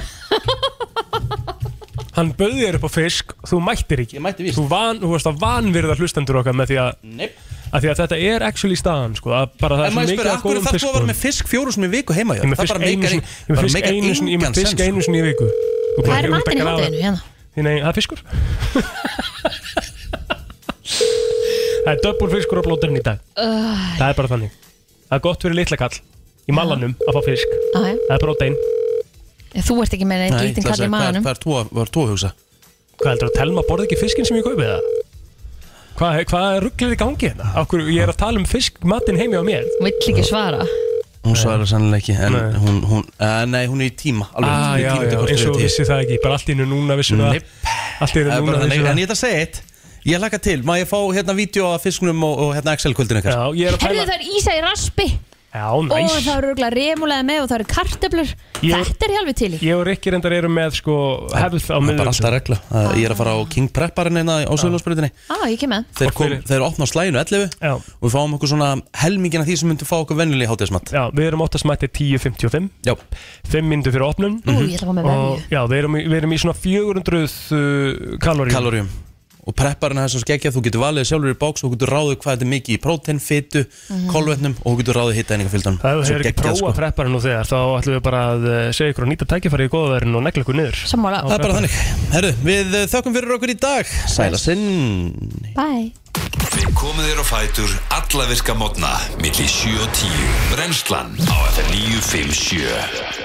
Hann bauði þér upp á fisk Þú mættir ekki
mætti
Þú, van, þú varst að vanvirða hlustendur okkar með því að
Nei
að því að þetta er actually staðan sko, að bara það er
En
svo
maður
mikið
spyrir,
að
akkur
góðum
þarf þú að vera
fiskbúðum
með fisk fjóru sinni í viku heima hjá
Ég er
þér?
með
Það
fisk
bara
einu
meikar
sinni Ég er með
bara
fisk
meikar
einu sinni Ég er
engan
með fisk
sens.
einu sinni í viku Þú bara-
Hvað er
þú ert
matinn í
að grafa.
hátinu hérna?
Þín eigin, það er fiskur Það er döbbul fiskur á blóturinn í dag
Uh,
Það er bara þannig Það er gott fyrir litla kall Í mallanum að fá fisk
já.
Það er prótein
Ah, Þú ert ekki með neitt lítinn kall í maðanum
er þú að, var þú að hugsa?
Hvað heldur að telma borði ekki fiskinn sem ég kaupið það? Hvað, hvað rugglir í gangi hérna? Akkur, ég er að tala um fisk matinn heimi á mér
Vill ekki
Mm.
svara
Hún svarar sannlega ekki En
Nei.
hún, hún, uh, nei, hún er í tíma Alveg,
ah,
hún er í
já,
tíma til
já,
korter
eins og
yfir tíu.
vissi það ekki bara allt í hennu núna vissi það
Nei.
allt í
Það
hennu
er
núna
bara
vissi
þannig, En
það
ég ætla að segja eitt Ég laka til, má ég fá hérna vídeo af fiskunum og, og hérna Excel-kvöldin ykkar?
Já, ég er
Herðu það er ísa í raspi
Já,
Og
næs
það eru röglega remulega með og það eru kartöflur
Ég-
Þetta er helvi til í
Ég og Rikki reyndar eru með sko hefð á
Það er bara
miðvöldum
alltaf regla uh, Ég er að fara á King Prepparinn hérna
Ah.
á Söðlósbrutinni
Á, Ah, ég kem með
Þeir, kom, þeir opna á slæginu 11
Já.
og við fáum okkur svona helmingin af því sem myndu fá okkur venjulega í hátíðismat
Já, við erum oftast mættið 10.55
Já
5 myndu fyrir opnun
Ú, ég ætla að fá með venju
Og já, við erum, í- við erum í svona 400 uh, kaloríum
kaloríum og prepparinn er svo skeggja, þú getur valið sjálfur í bóks og þú getur ráðið hvað þetta er mikið í prótein, fitu, kolvetnum og þú getur ráðið hitta einingafylgdanum
Ef þið er ekki prófa sko. prepparinn og þegar þá ætlum við bara að eh, segja ykkur að nýta tækifæri í góðaverðin og negla ykkur niður
Sammála.
Það er bara þannig Herru, við eh, þökkum fyrir okkur í dag Sæla sinn
Bye
Við komum þér á fætur alla virka mótna milli 7 og 10 Brennslan á FM 957